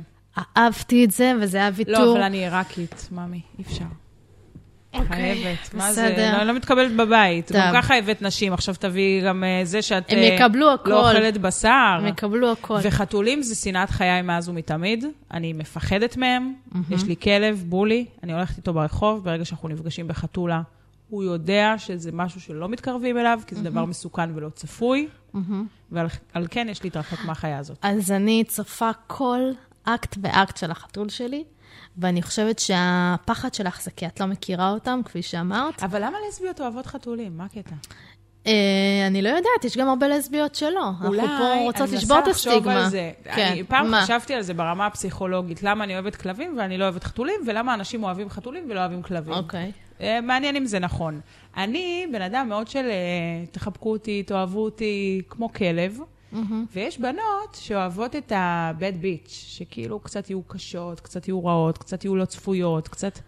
אהבתי את זה, וזה היה ויתור.
לא, אבל אני עיראקית, ממי, אי אפשר. חייבת, מה זה?
בסדר.
לא, אני לא מתקבלת בבית.
טוב.
גם ככה הבאת נשים, עכשיו תביאי גם אה, זה שאת...
הם
אה,
יקבלו הכל.
לא אוכלת בשר.
הם יקבלו הכל.
נכון. וחתולים זה שנאת חיי מאז ומתמיד, אני מפחדת מהם. יש לי כלב, בולי, אני הולכת איתו ברחוב, ברגע שאנחנו נפגשים בחתולה, הוא יודע שזה משהו שלא מתקרבים אליו, כי זה דבר מסוכן ולא צפוי, ועל על כן יש להתרחק מהחיה הזאת.
אז אני צופה כל אקט באקט של החתול שלי, ואני חושבת שהפחד שלך זה כי את לא מכירה אותם, כפי שאמרת.
אבל למה לסביות אוהבות חתולים? מה הקטע?
אה, אני לא יודעת, יש גם הרבה לסביות שלא. אנחנו פה רוצות לשבור את הסטיגמה.
אני מנסה לחשוב על זה.
כן,
אני פעם
מה?
חשבתי על זה ברמה הפסיכולוגית, למה אני אוהבת כלבים ואני לא אוהבת חתולים, ולמה אנשים אוהבים חתולים ולא אוהבים כלבים.
אוקיי.
אה, מעניין אם זה נכון. אני בן אדם מאוד של אה, תחבקו אותי, תאהבו אותי, כמו כלב.
Mm-hmm.
ויש בנות שאוהבות את ה-bad bitch, שכאילו קצת יהיו קשות, קצת יהיו רעות, קצת יהיו לא צפויות, קצת...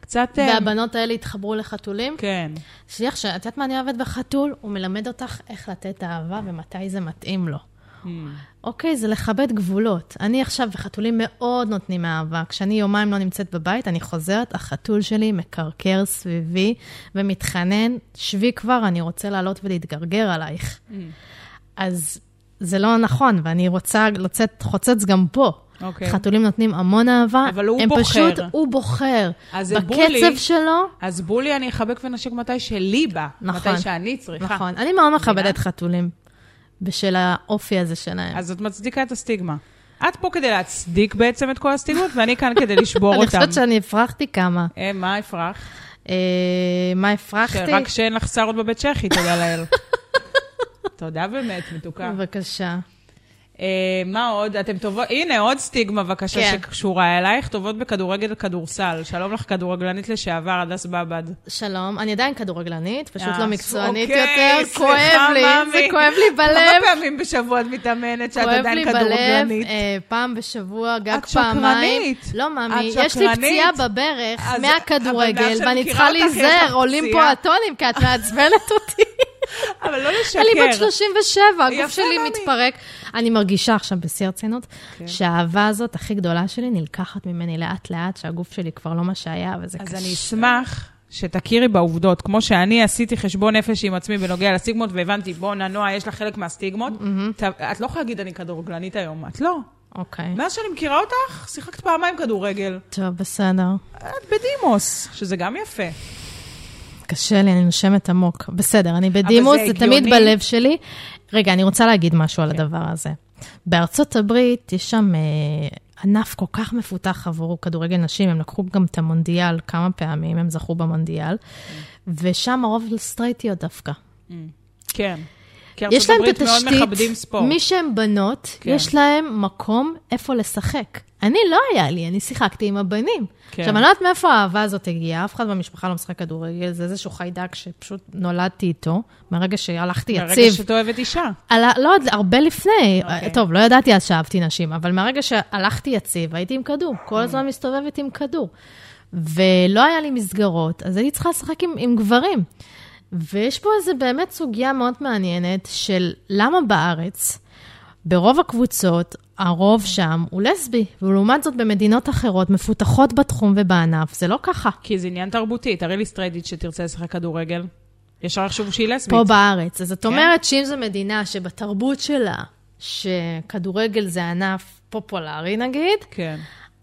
קצת... אה,
והבנות האלה התחברו לחתולים?
כן.
שליח, ש- את יודעת מה אני אוהבת בחתול? הוא מלמד אותך איך לתת אהבה ומתי זה מתאים לו.
Hmm.
אוקיי, זה לכבד גבולות. אני עכשיו, וחתולים מאוד נותנים אהבה. כשאני יומיים לא נמצאת בבית, אני חוזרת, החתול שלי מקרקר סביבי ומתחנן, שבי כבר, אני רוצה לעלות ולהתגרגר עלייך.
Hmm.
אז זה לא נכון, ואני רוצה לצאת חוצץ גם פה.
אוקיי.
חתולים נותנים המון אהבה,
אבל הוא
הם
בוחר.
פשוט, הוא בוחר.
אז זה
בקצב
בולי.
שלו,
אז בולי אני אחבק ונשק מתי שלי בא.
נכון.
מתי שאני צריכה.
נכון. אני מאוד מכבדת
מבינה?
חתולים, בשל האופי הזה שלהם.
אז את מצדיקה את הסטיגמה. את פה כדי להצדיק בעצם את כל הסטיגמות, ואני כאן כדי לשבור
אני
אותן.
חושבת שאני הפרחתי כמה.
אה, מה הפרח?
אה, מה הפרחתי?
כן, רק שאין לך שערות בבית צ'כי, תודה לאל. תודה באמת, מתוקה.
בבקשה.
אה, מה עוד? אתם טובות, הנה עוד סטיגמה בבקשה
כן.
שקשורה אלייך, טובות בכדורגל כדורסל. שלום לך כדורגלנית לשעבר, הדס בבד.
שלום, אני עדיין כדורגלנית, פשוט
אה,
לא מקצוענית
אוקיי,
יותר.
סליחה,
כואב לי,
מאמי.
זה כואב לי
כמה
בלב.
פעמים בשבוע את מתאמנת שאת
כואב לי
עדיין
בלב,
כדורגלנית?
אה, פעם בשבוע, גג
את
פעמיים.
שקרנית.
לא, מאמי,
את
יש לי
שקרנית.
פציעה בברך
אז הבן
מהכדורגל,
אדם שאני
ואני
מכירה
צריכה
אותך, יש לך
להיזהר, עולים פה
פציעה.
הטונים, כי את מעצבנת אותי.
אבל לא לשקר.
אני בת 37, הגוף
יפה,
שלי
מאמי.
מתפרק. אני מרגישה עכשיו בשיא הרצינות,
כן.
שהאהבה הזאת הכי גדולה שלי נלקחת ממני לאט-לאט, שהגוף שלי כבר לא מה שהיה, וזה קשה.
אז אני אשמח שתכירי בעובדות, כמו שאני עשיתי חשבון נפש עם עצמי בנוגע לסטיגמות, והבנתי, בואנה, נועה, יש לך חלק מהסטיגמות. ת- את לא יכולה להגיד, אני כדורגלנית היום, את לא.
אוקיי.
מאז שאני מכירה אותך, שיחקת פעמיים כדורגל.
טוב, בסדר.
את בדימוס, שזה גם יפה.
קשה לי, אני נושמת עמוק. בסדר, אני בדימוס,
זה
זה
הגיוני. כן.
תמיד בלב שלי. רגע, אני רוצה להגיד משהו על הדבר הזה. בארצות הברית יש שם אה, ענף כל כך מפותח עבור כדורגל נשים, הם לקחו גם את המונדיאל כמה פעמים, הם זכו במונדיאל, ושם הרוב סטרייטיות דווקא.
כן. כי ארצות
יש להם
הברית
את
מאוד מכבדים
התשתית,
ספורט.
מי שהן בנות,
כן.
יש להם מקום איפה לשחק. אני לא היה לי, אני שיחקתי עם הבנים.
כן.
עכשיו, אני לא יודעת מאיפה האהבה הזאת הגיעה, אף אחד במשפחה לא משחק כדורגל, זה איזשהו חיידק שפשוט נולדתי איתו, מהרגע שהלכתי
ברגע
יציב.
שאת אוהבת אישה.
על ה... לא, עוד הרבה לפני.
אוקיי.
טוב, לא ידעתי אז שאהבתי נשים, אבל מהרגע שהלכתי יציב, הייתי עם כדור. כל הזמן מסתובבת עם כדור. ולא היה לי מסגרות, אז הייתי צריכה לשחק עם, עם גברים. ויש פה איזו באמת סוגיה מאוד מעניינת של למה בארץ, ברוב הקבוצות, הרוב שם הוא לסבי, ולעומת זאת במדינות אחרות, מפותחות בתחום ובענף, זה לא ככה.
כי זה עניין תרבותי, תראי לי סטרייטית שתרצה לשחק כדורגל. ישר יחשבו שהיא לסבית.
פה בארץ. אז
כן.
זאת אומרת שאם זו מדינה שבתרבות שלה, שכדורגל זה ענף פופולרי נגיד,
כן.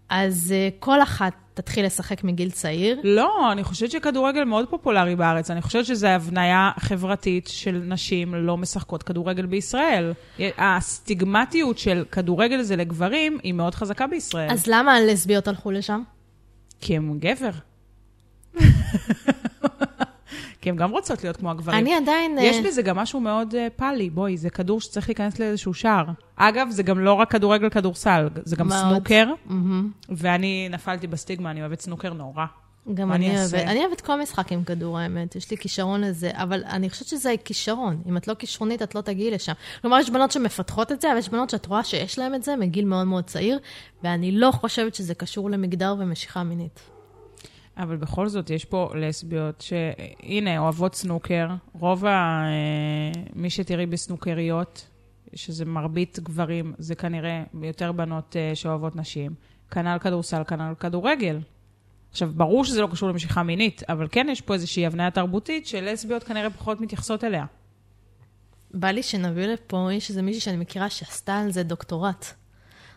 אז אה, כל אחת תתחיל לשחק מגיל צעיר.
לא, אני חושבת שכדורגל מאוד פופולרי בארץ. אני חושבת שזו הבניה חברתית של נשים לא משחקות כדורגל בישראל. הסטיגמטיות של כדורגל זה לגברים היא מאוד חזקה בישראל.
אז למה הלסביות הלכו לשם?
כי הם גבר. כי הן גם רוצות להיות כמו הגברים.
אני עדיין... אה,
יש בזה גם משהו מאוד אה, פאלי, בואי, זה כדור שצריך להיכנס לאיזשהו שער. אגב, זה גם לא רק כדורגל כדורסל, זה גם
מאוד.
סנוקר,
מהמם.
ואני נפלתי בסטיגמה, אני אוהבת סנוקר נורא.
גם
מה אני
אני אוהבת,
אעשה?
אני אוהבת כל משחק עם כדור, האמת. יש לי כישרון לזה, אבל אני חושבת שזה כישרון. אם את לא כישרונית, את לא תגיעי לשם. כלומר, יש בנות שמפתחות את זה, אבל יש בנות שאת רואה שיש להן את זה מגיל מאוד מאוד צעיר, ואני לא חושבת שזה קשור למגדר ומשיכה מינית.
אבל בכל זאת, יש פה לסביות שהנה, אוהבות סנוקר. רוב ה... אה, מי שתראי בסנוקריות, שזה מרבית גברים, זה כנראה יותר בנות אה, שאוהבות נשים. כנ"ל כדורסל, כנ"ל כדורגל. עכשיו, ברור שזה לא קשור למשיכה מינית, אבל כן יש פה איזושהי הבניה תרבותית שלסביות כנראה פחות מתייחסות אליה.
בא לי שנביא לפה, יש איזה מישהי שאני מכירה שעשתה על זה דוקטורט.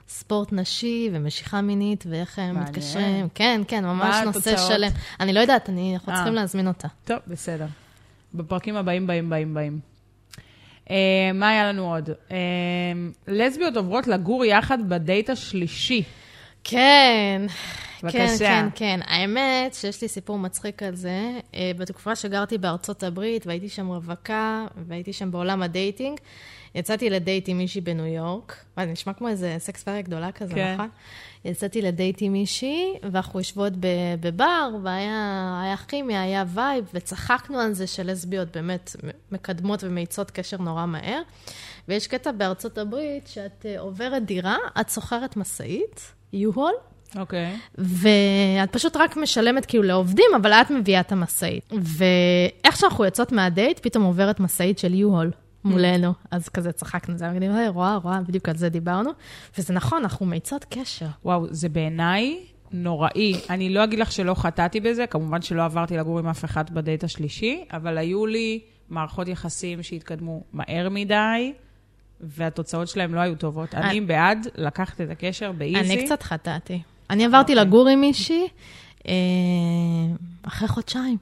ספורט נשי ומשיכה מינית ואיך הם
מעניין.
מתקשרים. כן, כן, ממש
מה
נושא
התוצאות?
שלם. אני לא יודעת, אני, אנחנו
אה.
צריכים להזמין אותה.
טוב, בסדר. בפרקים הבאים, באים, באים, באים. Uh, אה, מה היה לנו עוד? אה, לסביות עוברות לגור יחד בדייט השלישי.
כן.
בבקשה.
כן, כן, כן. האמת שיש לי סיפור מצחיק על זה. אה, בתקופה שגרתי בארצות הברית, והייתי שם רווקה, והייתי שם בעולם הדייטינג, יצאתי לדייט עם מישהי בניו יורק. מה, זה נשמע כמו איזה סקס פריה גדולה כזה,
כן.
נכון? יצאתי לדייט עם מישהי, ואנחנו יושבות ב- בבר, והיה היה כימיה, היה וייב, וצחקנו על זה שלסביות באמת מקדמות ומאיצות קשר נורא מהר. ויש קטע בארצות הברית, שאת אה, עוברת דירה, את שוכרת משאית, יו-הול,
אוקיי.
ואת פשוט רק משלמת כאילו לעובדים, אבל את מביאה את המשאית. ואיך שאנחנו יוצאות מהדייט, פתאום עוברת משאית של יו-הול מולנו. אז כזה צחקנו, זה היה מגניב, "היי, רואה, רואה, בדיוק על זה דיברנו. וזה נכון, אנחנו מאיצות קשר.
וואו, זה בעיניי נוראי. אני לא אגיד לך שלא חטאתי בזה, כמובן שלא עברתי לגור עם אף אחד בדייט השלישי, אבל היו לי מערכות יחסים שהתקדמו מהר מדי, והתוצאות שלהם לא היו טובות. אני בעד לקחת את הקשר באיזי.
אני קצת חטאתי. אני עברתי לגור עם מישהי אה, אחרי חודשיים.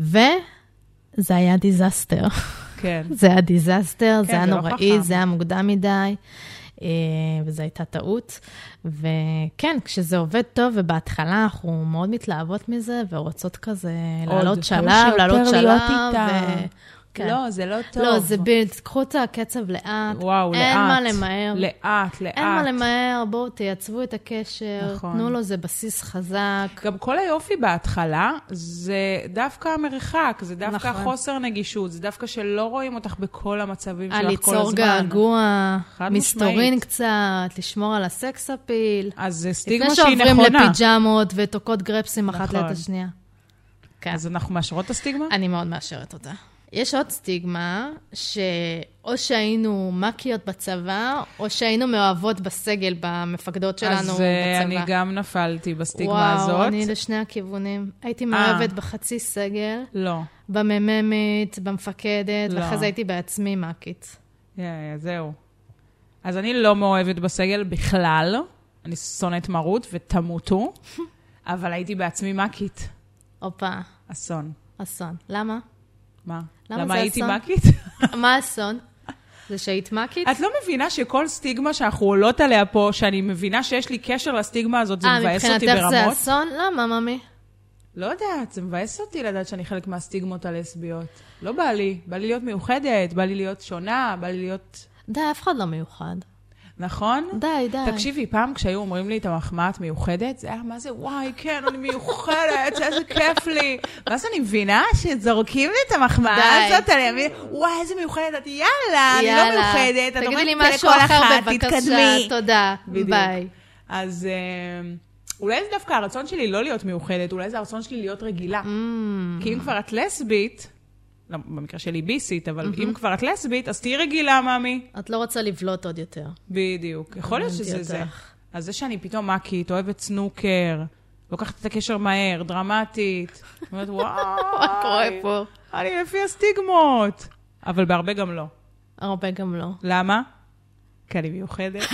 וזה היה דיזסטר.
כן.
זה היה דיזסטר,
כן,
זה היה
זה לא חכם.
נוראי, זה היה מוקדם מדי, אה, וזו הייתה טעות. וכן, כשזה עובד טוב, ובהתחלה אנחנו מאוד מתלהבות מזה, ורוצות כזה
עוד,
לעלות
כמה
שלב, לעלות
שיותר
שלב.
להיות איתה.
ו- כן.
לא, זה לא טוב.
לא, זה בילד, קחו את הקצב לאט.
וואו, לאט.
אין מה למהר.
לאט, לאט.
אין מה למהר, בואו תייצבו את הקשר,
נכון.
תנו לו, זה בסיס חזק.
גם כל היופי בהתחלה זה דווקא המרחק, זה דווקא
נכון.
חוסר נגישות, זה דווקא שלא רואים אותך בכל המצבים
על
שלך כל
אה, ליצור
הזמן.
געגוע,
חד
מסתורין
משמעית.
קצת, לשמור על הסקס אפיל.
אז זה
לפני
סטיגמה שהיא נכונה.
שעוברים לפיג'מות ותוקעות גרפסים אחת
נכון.
ליד השנייה. כן.
אז אנחנו מאשרות את הסטיגמה?
אני מאוד מאשרת אותה. יש עוד סטיגמה, שאו שהיינו מ"כיות בצבא, או שהיינו מאוהבות בסגל, במפקדות שלנו
אז אה,
בצבא.
אני גם נפלתי בסטיגמה הזאת. אה.
וואו, אני לשני הכיוונים. הייתי מאוהבת בחצי סגל,
לא.
במ"מית, במפקדת,
לא.
ואחרי זה הייתי בעצמי מ"כית.
אה, זהו. אז אני לא מאוהבת בסגל בכלל, אני שונאת מרות ותמותו, אבל הייתי בעצמי מ"כית.
הופה,
אסון.
אסון. למה?
מה?
למה
למה
זה
הייתי
אסון?
מ"כית?
מה האסון? זה שהיית מ"כית?
את לא מבינה שכל סטיגמה שאנחנו עולות עליה פה, שאני מבינה שיש לי קשר לסטיגמה הזאת, זה מבאס אותי
אה, מבחינתך זה
ברמות?
אסון? למה, ממי?
לא יודעת, זה מבאס אותי לדעת שאני חלק מהסטיגמות הלסביות. לא בא לי. בא לי להיות מיוחדת, בא לי להיות שונה, בא לי להיות...
די, אף אחד לא מיוחד.
נכון?
די, די.
תקשיבי, פעם כשהיו אומרים לי את המחמאה, את מיוחדת, זה היה מה זה, וואי, כן, אני מיוחדת, איזה כיף לי. ואז אני מבינה שזורקים לי את המחמאה
די.
הזאת, אני אבין, וואי, איזה מיוחדת, את, יאללה, אני לא
יאללה.
מיוחדת, את
תגידי לי
אומרת את זה
משהו
לכל
אחר
אחת,
בבקשה,
תתקדמי.
תודה,
בדיוק.
ביי.
אז אה, אולי זה דווקא הרצון שלי לא להיות מיוחדת, אולי זה הרצון שלי להיות רגילה.
Mm,
כי אם כבר את לסבית, לא, במקרה שלי ביסית, אבל
Mm-hmm.
אם כבר את לסבית, אז תהיי רגילה, מאמי.
את לא רוצה לבלוט עוד יותר.
בדיוק. יכול להיות שזה
הבנתי
זה.
אותך.
אז זה שאני פתאום מאקית, אוהבת סנוקר, לוקחת את הקשר מהר, דרמטית, אומרת,
מה קורה
וואי,
פה?
אני לפי הסטיגמות. אבל בהרבה גם לא.
הרבה גם לא.
למה? כי אני מיוחדת.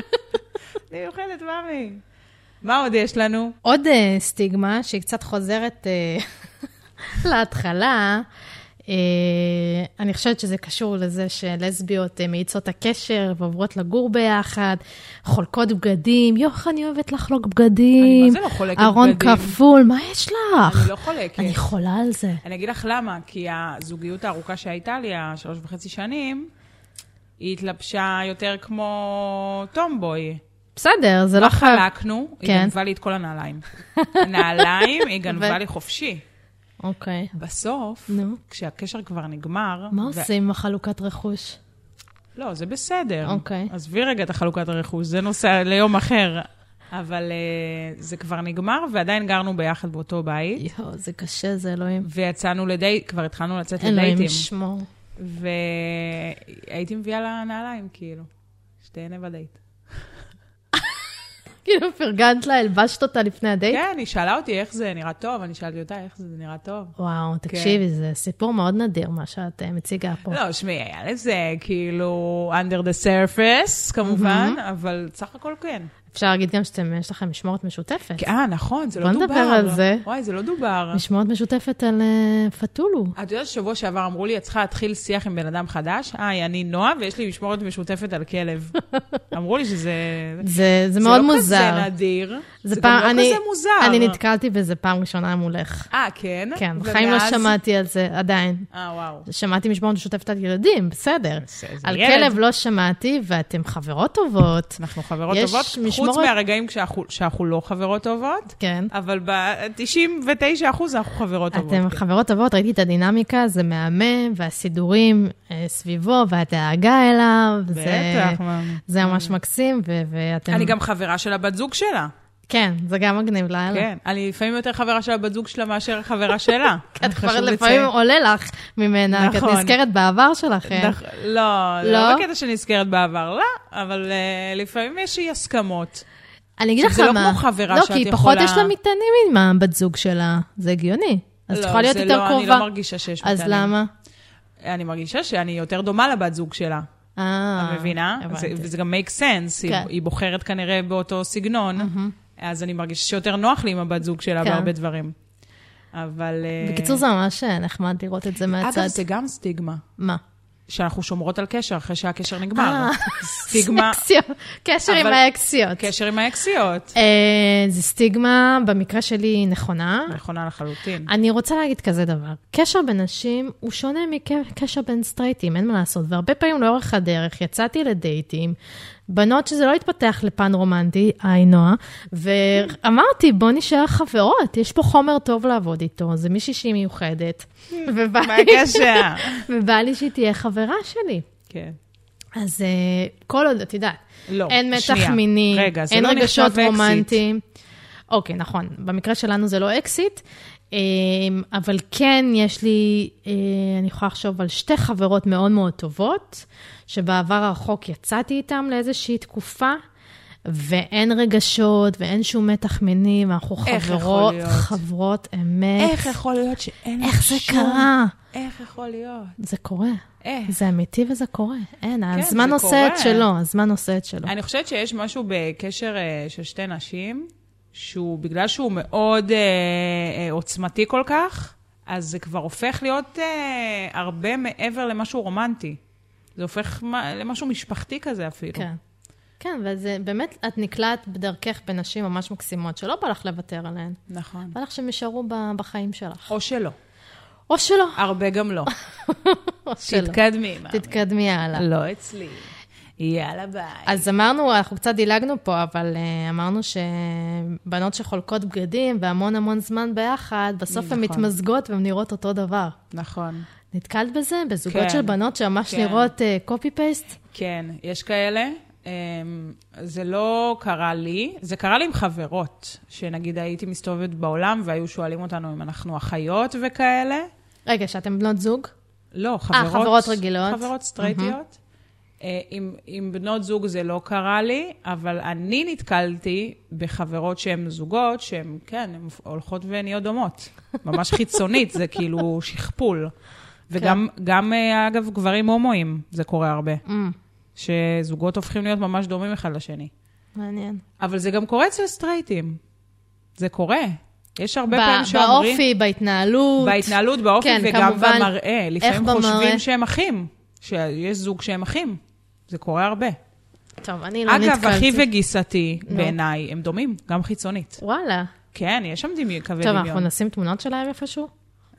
אני מיוחדת, מאמי. מה עוד יש לנו?
עוד אה, סטיגמה שהיא קצת חוזרת אה, להתחלה, אה, אני חושבת שזה קשור לזה שלסביות אה, מאיצות הקשר ועוברות לגור ביחד, חולקות בגדים, יוח, אני אוהבת לחלוק בגדים.
אני מה זה לא חולקת
ארון
בגדים?
כפול, מה יש לך?
אני לא חולקת.
אני חולה על זה.
אני אגיד לך למה, כי הזוגיות הארוכה שהייתה לי, השלוש וחצי שנים, היא התלבשה יותר כמו טומבוי.
בסדר, זה לא
לא
חייב.
חלקנו, היא
כן.
גנבה לי את כל הנעליים. הנעליים, היא גנבה לי חופשי.
אוקיי.
בסוף,
נו.
כשהקשר כבר נגמר...
מה
ו-
עושים עם החלוקת רכוש?
לא, זה בסדר.
אוקיי.
עזבי רגע את החלוקת הרכוש, זה נושא ליום אחר. אבל אה, זה כבר נגמר, ועדיין גרנו ביחד באותו בית,
יואו, זה קשה, זה אלוהים.
ויצאנו לדייט, כבר התחלנו לצאת
אלוהים
לדייטים.
ישמור.
והייתי מביאה לה נעליים, כאילו, שתהנה בדייט.
כאילו, פרגנת לה, הלבשת אותה לפני הדייט?
כן, היא שאלה אותי איך זה נראה טוב, אני שאלתי אותה איך זה נראה טוב.
וואו, תקשיבי, זה סיפור מאוד נדיר, מה שאת אה, מציגה פה.
לא, שמעי, היה לזה כאילו under the surface, כמובן, אבל סך הכל כן.
אפשר להגיד גם שאתם, יש לכם משמורת משותפת.
כי- אה, נכון, זה לא
בוא
דובר.
נדבר על זה.
וואי, זה לא דובר.
משמורת משותפת על אה, פתולו.
את יודעת ששבוע שעבר אמרו לי, את צריכה להתחיל שיח עם בן אדם חדש? היי, אני נועה ויש לי משמורת משותפת על כלב. אמרו לי שזה...
זה, זה מאוד
זה לא
מוזר.
כזה נדיר.
זה
זה
פעם-
גם לא
אני-
כזה מוזר.
אני נתקלתי בזה פעם ראשונה מולך.
אה, כן?
כן, בחיים לא
ומאז-
שמעתי על זה עדיין.
אה, וואו.
שמעתי משמורת משותפת על ילדים, בסדר.
זה- זה
על
ילד. נכון.
כלב לא שמעתי, ואתם חברות טובות.
אנחנו חברות
יש
טובות, חוץ
משמורת-
מהרגעים כשאנחנו- שאנחנו לא חברות טובות,
כן.
אבל ב-99% אנחנו חברות טובות.
אתם
כן.
חברות טובות, ראיתי את הדינמיקה, זה מהמם, והסידורים אה, סביבו, והדאגה אליו, זה-
בטח, מה-
זה ממש מקסים, ו- ואתם...
אני גם חברה של הבת זוג שלה.
כן, זה גם מגניב לאללה.
כן, אני לפעמים יותר חברה של הבת זוג שלה מאשר חברה שלה.
כי את כבר
חשוב
לפעמים
לציין.
עולה לך ממנה, כי את
נכון.
נזכרת בעבר שלכם.
נכ- לא, זה
לא?
לא בקטע שנזכרת בעבר, לא, אבל אה, לפעמים יש אי הסכמות.
אני אגיד לך מה...
עכשיו, זה לא כמו חברה שאת
לא, כי פחות
יכולה-
יש לה מטענים עם הבת זוג שלה, זה הגיוני. אז
לא,
צריכה להיות
זה
יותר
לא,
קרובה.
אני לא מרגישה שיש
אז
מטענים.
למה?
אני מרגישה שאני יותר דומה לבת זוג שלה,
אה,
את מבינה? זה-
הבנתי.
וזה גם make sense, היא-
כן.
היא בוחרת כנראה באותו סגנון, אז אני מרגישה שיותר נוח לי עם הבת זוג שלה
כן.
בהרבה דברים. אבל... אה,
בקיצור, זה ממש אה, נחמד לראות את זה מהצד.
אגב, זה גם סטיגמה,
מה?
שאנחנו שומרות על קשר אחרי שהקשר נגמר.
אה,
סטיגמה,
אקסיות. קשר עם
אבל-
האקסיות.
קשר עם האקסיות.
אה, זה סטיגמה, במקרה שלי היא נכונה.
נכונה לחלוטין.
אני רוצה להגיד כזה דבר, קשר בין נשים הוא שונה מקשר בין סטרייטים, אין מה לעשות. והרבה פעמים לאורך הדרך יצאתי לדייטים, בנות שזה לא התפתח לפן רומנטי, היי נועה, ואמרתי, בוא נשאר חברות, יש פה חומר טוב לעבוד איתו, זה מישהי שהיא מיוחדת, ובא
Hmm, מה
לי-
הקשר?
ובא לי שהיא תהיה חברה שלי.
כן.
אז אה, כל עוד, את יודעת,
לא,
אין מתח
שנייה.
מיני,
רגע, זה
אין
לא
רגשות
נחשב אקזיט.
רומנטיים. אוקיי, נכון, במקרה שלנו זה לא אקזיט, אה, אבל כן יש לי, אה, אני יכולה לחשוב על שתי חברות מאוד מאוד טובות, שבעבר הרחוק יצאתי איתן לאיזושהי תקופה. ואין רגשות, ואין שום מתח מיני, ואנחנו
איך יכול
חברות,
להיות?
חברות אמת.
איך יכול להיות שאין
איך זה
שום-
קרה?
איך יכול להיות?
זה קורה.
איך?
זה אמיתי וזה קורה. אין,
כן, זה
הזמן עושה את
קורה.
שלו, הזמן עושה את שלו.
אני חושבת שיש משהו בקשר אה, של שתי נשים, שהוא, בגלל שהוא מאוד אה, אה, עוצמתי כל כך, אז זה כבר הופך להיות אה, הרבה מעבר למשהו רומנטי. זה הופך מה- למשהו משפחתי כזה אפילו.
כן. כן, וזה באמת, את נקלעת בדרכך בנשים ממש מקסימות, שלא בא לך לוותר עליהן.
נכון.
בא לך שהם יישארו ב- בחיים שלך.
או שלא.
או שלא,
הרבה גם לא.
או שלא.
תתקדמי. מאמי.
תתקדמי הלאה.
לא אצלי. יאללה ביי.
אז אמרנו, אנחנו קצת דילגנו פה, אבל אה, אמרנו שבנות שחולקות בגדים והמון המון זמן ביחד, בסוף
נכון.
הן מתמזגות והן נראות אותו דבר.
נכון.
נתקלת בזה? בזוגות
כן.
של בנות שממש
כן.
נראות אה, קופי פייסט?
כן, יש כאלה. אמ, זה לא קרה לי, זה קרה לי עם חברות, שנגיד הייתי מסתובבת בעולם והיו שואלים אותנו אם אנחנו אחיות וכאלה.
רגע, שאתם בנות זוג?
לא, חברות...
אה, חברות רגילות.
חברות סטרייטיות. אה, עם, עם בנות זוג זה לא קרה לי, אבל אני נתקלתי בחברות שהן זוגות, שהן, כן, הן הולכות ונהיות דומות. ממש חיצונית, זה כאילו שכפול. וגם,
כן.
גם, אה, אגב, גברים הומואים, זה קורה הרבה.
אמ,
שזוגות הופכים להיות ממש דומים אחד לשני.
מעניין.
אבל זה גם קורה אצל סטרייטים. זה קורה. יש הרבה
ב-
פעמים שאומרים...
באופי, בהתנהלות.
בהתנהלות, באופי
כן,
וגם
כמובן.
במראה. לפעמים
איך במראה?
חושבים שהם אחים, שיש זוג שהם אחים. זה קורה הרבה.
טוב, אני לא נתקלתי.
אגב, אחי וגיסתי,
נו.
בעיניי, הם דומים, גם חיצונית.
וואלה.
כן, יש שם דמי- קווי
טוב, אנחנו
דמיון.
נשים תמונות שלהם איפשהו?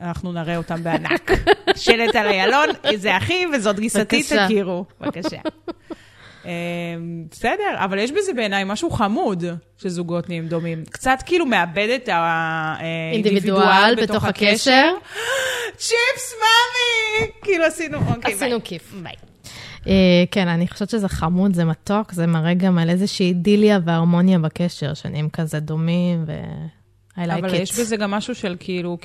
אנחנו נראה אותם בענק. שלט על איילון, זה אחי וזאת גיסתי,
בבקשה.
תכירו. בבקשה. אמ, בסדר, אבל יש בזה בעיניי משהו חמוד שזוגות נהיים דומים. קצת כאילו מאבד את אה, האינדיבידואל
אינדיבידואל בתוך הקשר.
צ'יפס, מאמי! כאילו עשינו, אוקיי, ביי.
עשינו כיף. ביי. אה, כן, אני חושבת שזה חמוד, זה מתוק, זה מראה גם על איזושהי אידיליה והרמוניה בקשר, שנהיים כזה דומים, ו... I like
אבל
it.
יש בזה גם משהו של כאילו,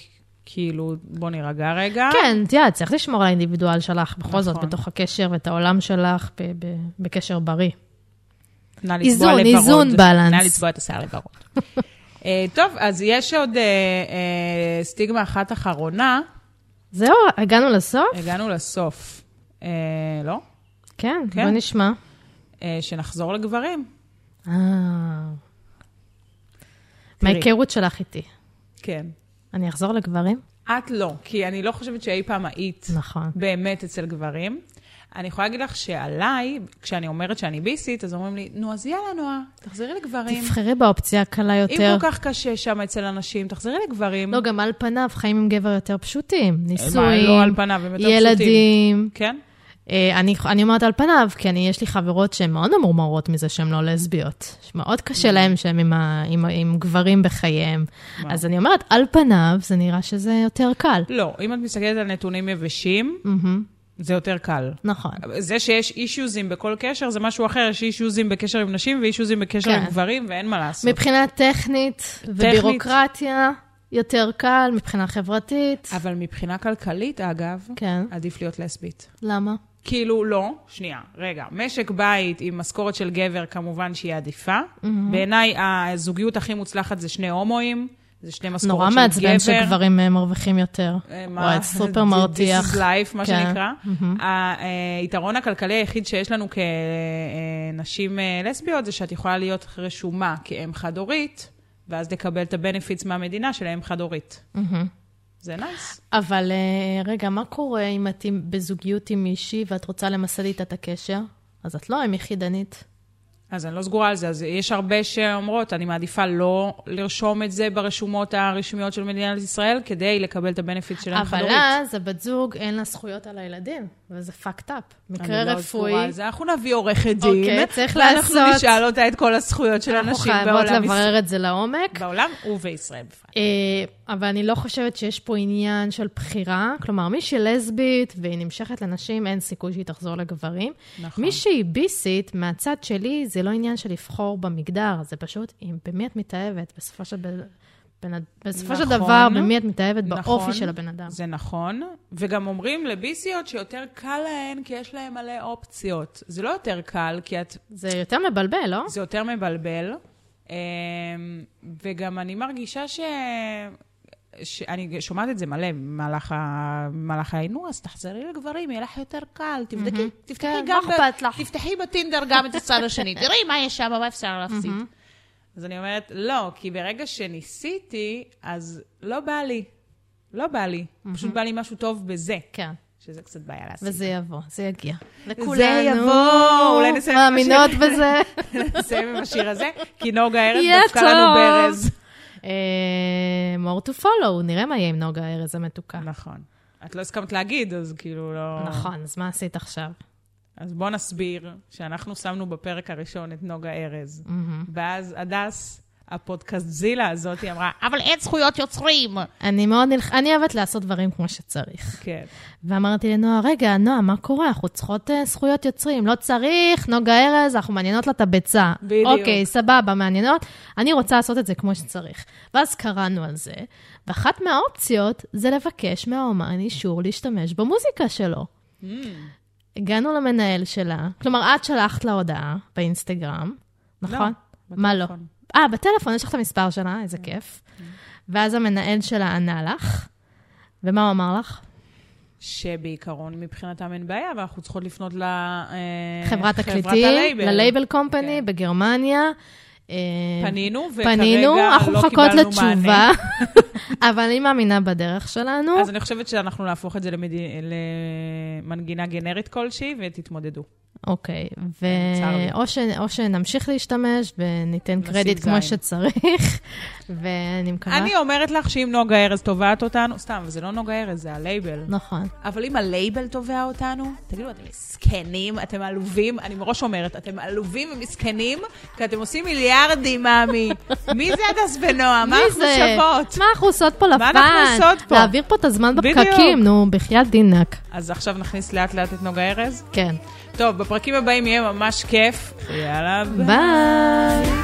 כאילו, בוא נירגע רגע.
כן, את יודעת, צריך לשמור על האינדיבידואל שלך, בכל זאת,
נכון.
בתוך הקשר ואת העולם שלך ב- ב- בקשר בריא.
נא לצבוע
איזון,
לוורוד.
איזון, balance.
נא לצבוע את השיער לוורוד. אה, טוב, אז יש עוד אה, אה, סטיגמה אחת אחרונה.
זהו, הגענו לסוף?
הגענו לסוף. אה, לא?
כן,
כן.
בוא נשמע.
אה, שנחזור לגברים.
אה.
תראי.
מההיכרות שלך איתי.
כן.
אני אחזור לגברים?
את לא, כי אני לא חושבת שאי פעם היית
נכון.
באמת אצל גברים. אני יכולה להגיד לך שעליי, כשאני אומרת שאני ביסית, אז אומרים לי, נו, אז יאללה, נועה, תחזרי לגברים.
תבחרי באופציה הקלה
אם
יותר.
כל כך קשה שם אצל אנשים, תחזרי לגברים.
לא, גם על פניו, חיים עם גבר יותר פשוטים.
מה, לא על
נישואים,
פניו, הם יותר פשוטים.
ילדים.
כן?
אה, אני, אני אומרת על פניו, כי אני, יש לי חברות שהן מאוד ממורמרות מזה שהן לא לסביות. מאוד קשה להן שהן עם, ה- עם, ה- עם גברים בחייהם.
Mm. וואו.
אז אני אומרת, על פניו זה נראה שזה יותר קל.
לא, אם את מסתכלת על נתונים יבשים,
מהמם,
זה יותר קל.
נכון.
זה שיש אישיוזים בכל קשר, זה משהו אחר, יש אישיוזים בקשר עם נשים ואישיוזים בקשר
כן.
עם גברים, ואין מה לעשות.
מבחינה טכנית ובירוקרטיה, יותר קל, מבחינה חברתית.
אבל מבחינה כלכלית, אגב,
כן,
עדיף להיות לסבית.
למה?
כאילו, לא, שנייה, רגע. משק בית עם משכורת של גבר, כמובן שהיא עדיפה. בעיניי, הזוגיות הכי מוצלחת זה שני הומואים, זה שני משכורות
נורא
של גבר.
מעצבן שגברים אה, מרוויחים יותר.
אה, מה?
וואי, סופר מרתיח.
This is life, מה
כן.
שנקרא. ה- אה, היתרון הכלכלי היחיד שיש לנו כנשים אה, לסביות זה שאת יכולה להיות רשומה כאם חד-הורית, ואז לקבל את הבנפיטס מהמדינה של אם חד-הורית.
מהמם.
זה נייס.
אבל אה, רגע, מה קורה אם את עם- בזוגיות עם מישהי ואת רוצה למסד איתה את הקשר? אז את לא עם יחידנית.
אז אני לא סגורה על זה, אז יש הרבה שאומרות, אני מעדיפה לא לרשום את זה ברשומות הרשמיות של מדינת ישראל, כדי לקבל את הבנפיט של אם
אבל
חד-הורית.
אז הבת זוג אין לה זכויות על הילדים, וזה fucked up. מקרה
אני לא
רפואי,
סגורה על זה, אנחנו נביא עורכת דין,
אוקיי, צריך
ואנחנו
לעשות.
נשאל אותה את כל הזכויות של
אנחנו
הנשים
חייבות
בעולם ישראל.
לברר את זה לעומק.
בעולם ובישראל בפרט.
אה, אבל אני לא חושבת שיש פה עניין של בחירה. כלומר, מי שהיא לסבית והיא נמשכת לנשים, אין סיכוי שהיא תחזור לגברים.
נכון.
מי שהיא ביסית, מהצד שלי, זה לא עניין של לבחור במגדר, זה פשוט אם במי את מתאהבת, בסופו של, ב... בנ... בסופו של
נכון.
דבר, במי את מתאהבת,
נכון.
באופי של הבן אדם.
זה נכון, וגם אומרים לביסיות שיותר קל להן, כי יש להן מלא אופציות. זה לא יותר קל, כי את,
זה יותר מבלבל, לא?
זה יותר מבלבל, אמ, וגם אני מרגישה ש... שאני שומעת את זה מלא במהלך ה- במהלך העינו, אז תחזרי לגברים, יהיה לך יותר קל, תבדקי, תפתחי
כן,
גם...
מה
ב-
אכפת לך?
תפתחי בטינדר גם את הצד השני, תראי מה יש שם, מה אפשר להפסיד. אז אני אומרת, לא, כי ברגע שניסיתי, אז לא בא לי. לא בא לי. פשוט בא לי משהו טוב בזה,
כן,
שזה קצת בעיה להשיג.
וזה יבוא, זה יגיע. לכולנו.
זה יבוא, אולי נסיים עם השיר.
מאמינות בזה.
נסיים עם השיר הזה, כי נוגה ארז
יהיה
דפקה לנו
טוב.
ברז.
אה, more to follow, נראה מה יהיה עם נוגה ארז המתוקה.
נכון. את לא הסכמת להגיד, אז כאילו לא...
נכון, אז מה עשית עכשיו?
אז בוא נסביר שאנחנו שמנו בפרק הראשון את נוגה ארז,
מהמם.
ואז הדס, הפודקאסט זילה הזאת, היא אמרה,
אבל אין זכויות יוצרים.
אני מאוד נלח... אני אוהבת לעשות דברים כמו שצריך.
כן.
ואמרתי לנועה, רגע, נועה, מה קורה? אנחנו צריכות אה, זכויות יוצרים. לא צריך, נוגה ארז, אנחנו מעניינות לה את הביצה.
בדיוק.
אוקיי, סבבה, מעניינות. אני רוצה לעשות את זה כמו שצריך. ואז קראנו על זה, ואחת מהאופציות זה לבקש מהאומן אישור להשתמש במוזיקה שלו. הגענו למנהל שלה, כלומר, את שלחת לה הודעה באינסטגרם, נכון? מה לא?
בטלפון.
אה, בטלפון, יש לך את המספר שלה,
כן.
איזה כיף. ואז המנהל שלה ענה לך, ומה הוא אמר לך?
שבעיקרון מבחינתם אין בעיה, ואנחנו צריכות לפנות ל... אה,
חברת תקליטים,
הלייבל.
ללייבל קומפני
כן.
בגרמניה. אה,
פנינו, וכרגע
פנינו, אנחנו
לא
מחכות
קיבלנו
לתשובה,
מענה.
אבל אני מאמינה בדרך שלנו.
אז אני חושבת שאנחנו נהפוך את זה למד... למנגינה גנרית כלשהי, ותתמודדו.
אוקיי,
כן, צר לי.
ו- או ש- או שנמשיך להשתמש וניתן
נשים
קרדיט כמו
זין.
שצריך, ואני מקווה...
אני אומרת לך שאם נוגה ארז תובעת אותנו, סתם, זה לא נוגה ארז, זה הלייבל.
נכון.
אבל אם הלייבל תובע אותנו, תגידו, אתם מסכנים, אתם עלובים, אני מראש אומרת, אתם עלובים ומסכנים, כי אתם עושים מיליארדים, מאמי. מי זה הדס ונועה? מה
מי
אנחנו
זה?
שוות?
מה אנחנו עושות פה לפן?
מה אנחנו עושות פה?
להעביר פה את הזמן
בדיוק.
בפקקים, נו, בחייאת דינק.
אז עכשיו נכניס לאט-לאט את נוגה ארז?
כן.
טוב, בפרקים הבאים יהיה ממש כיף. יאללה, ביי.
ביי.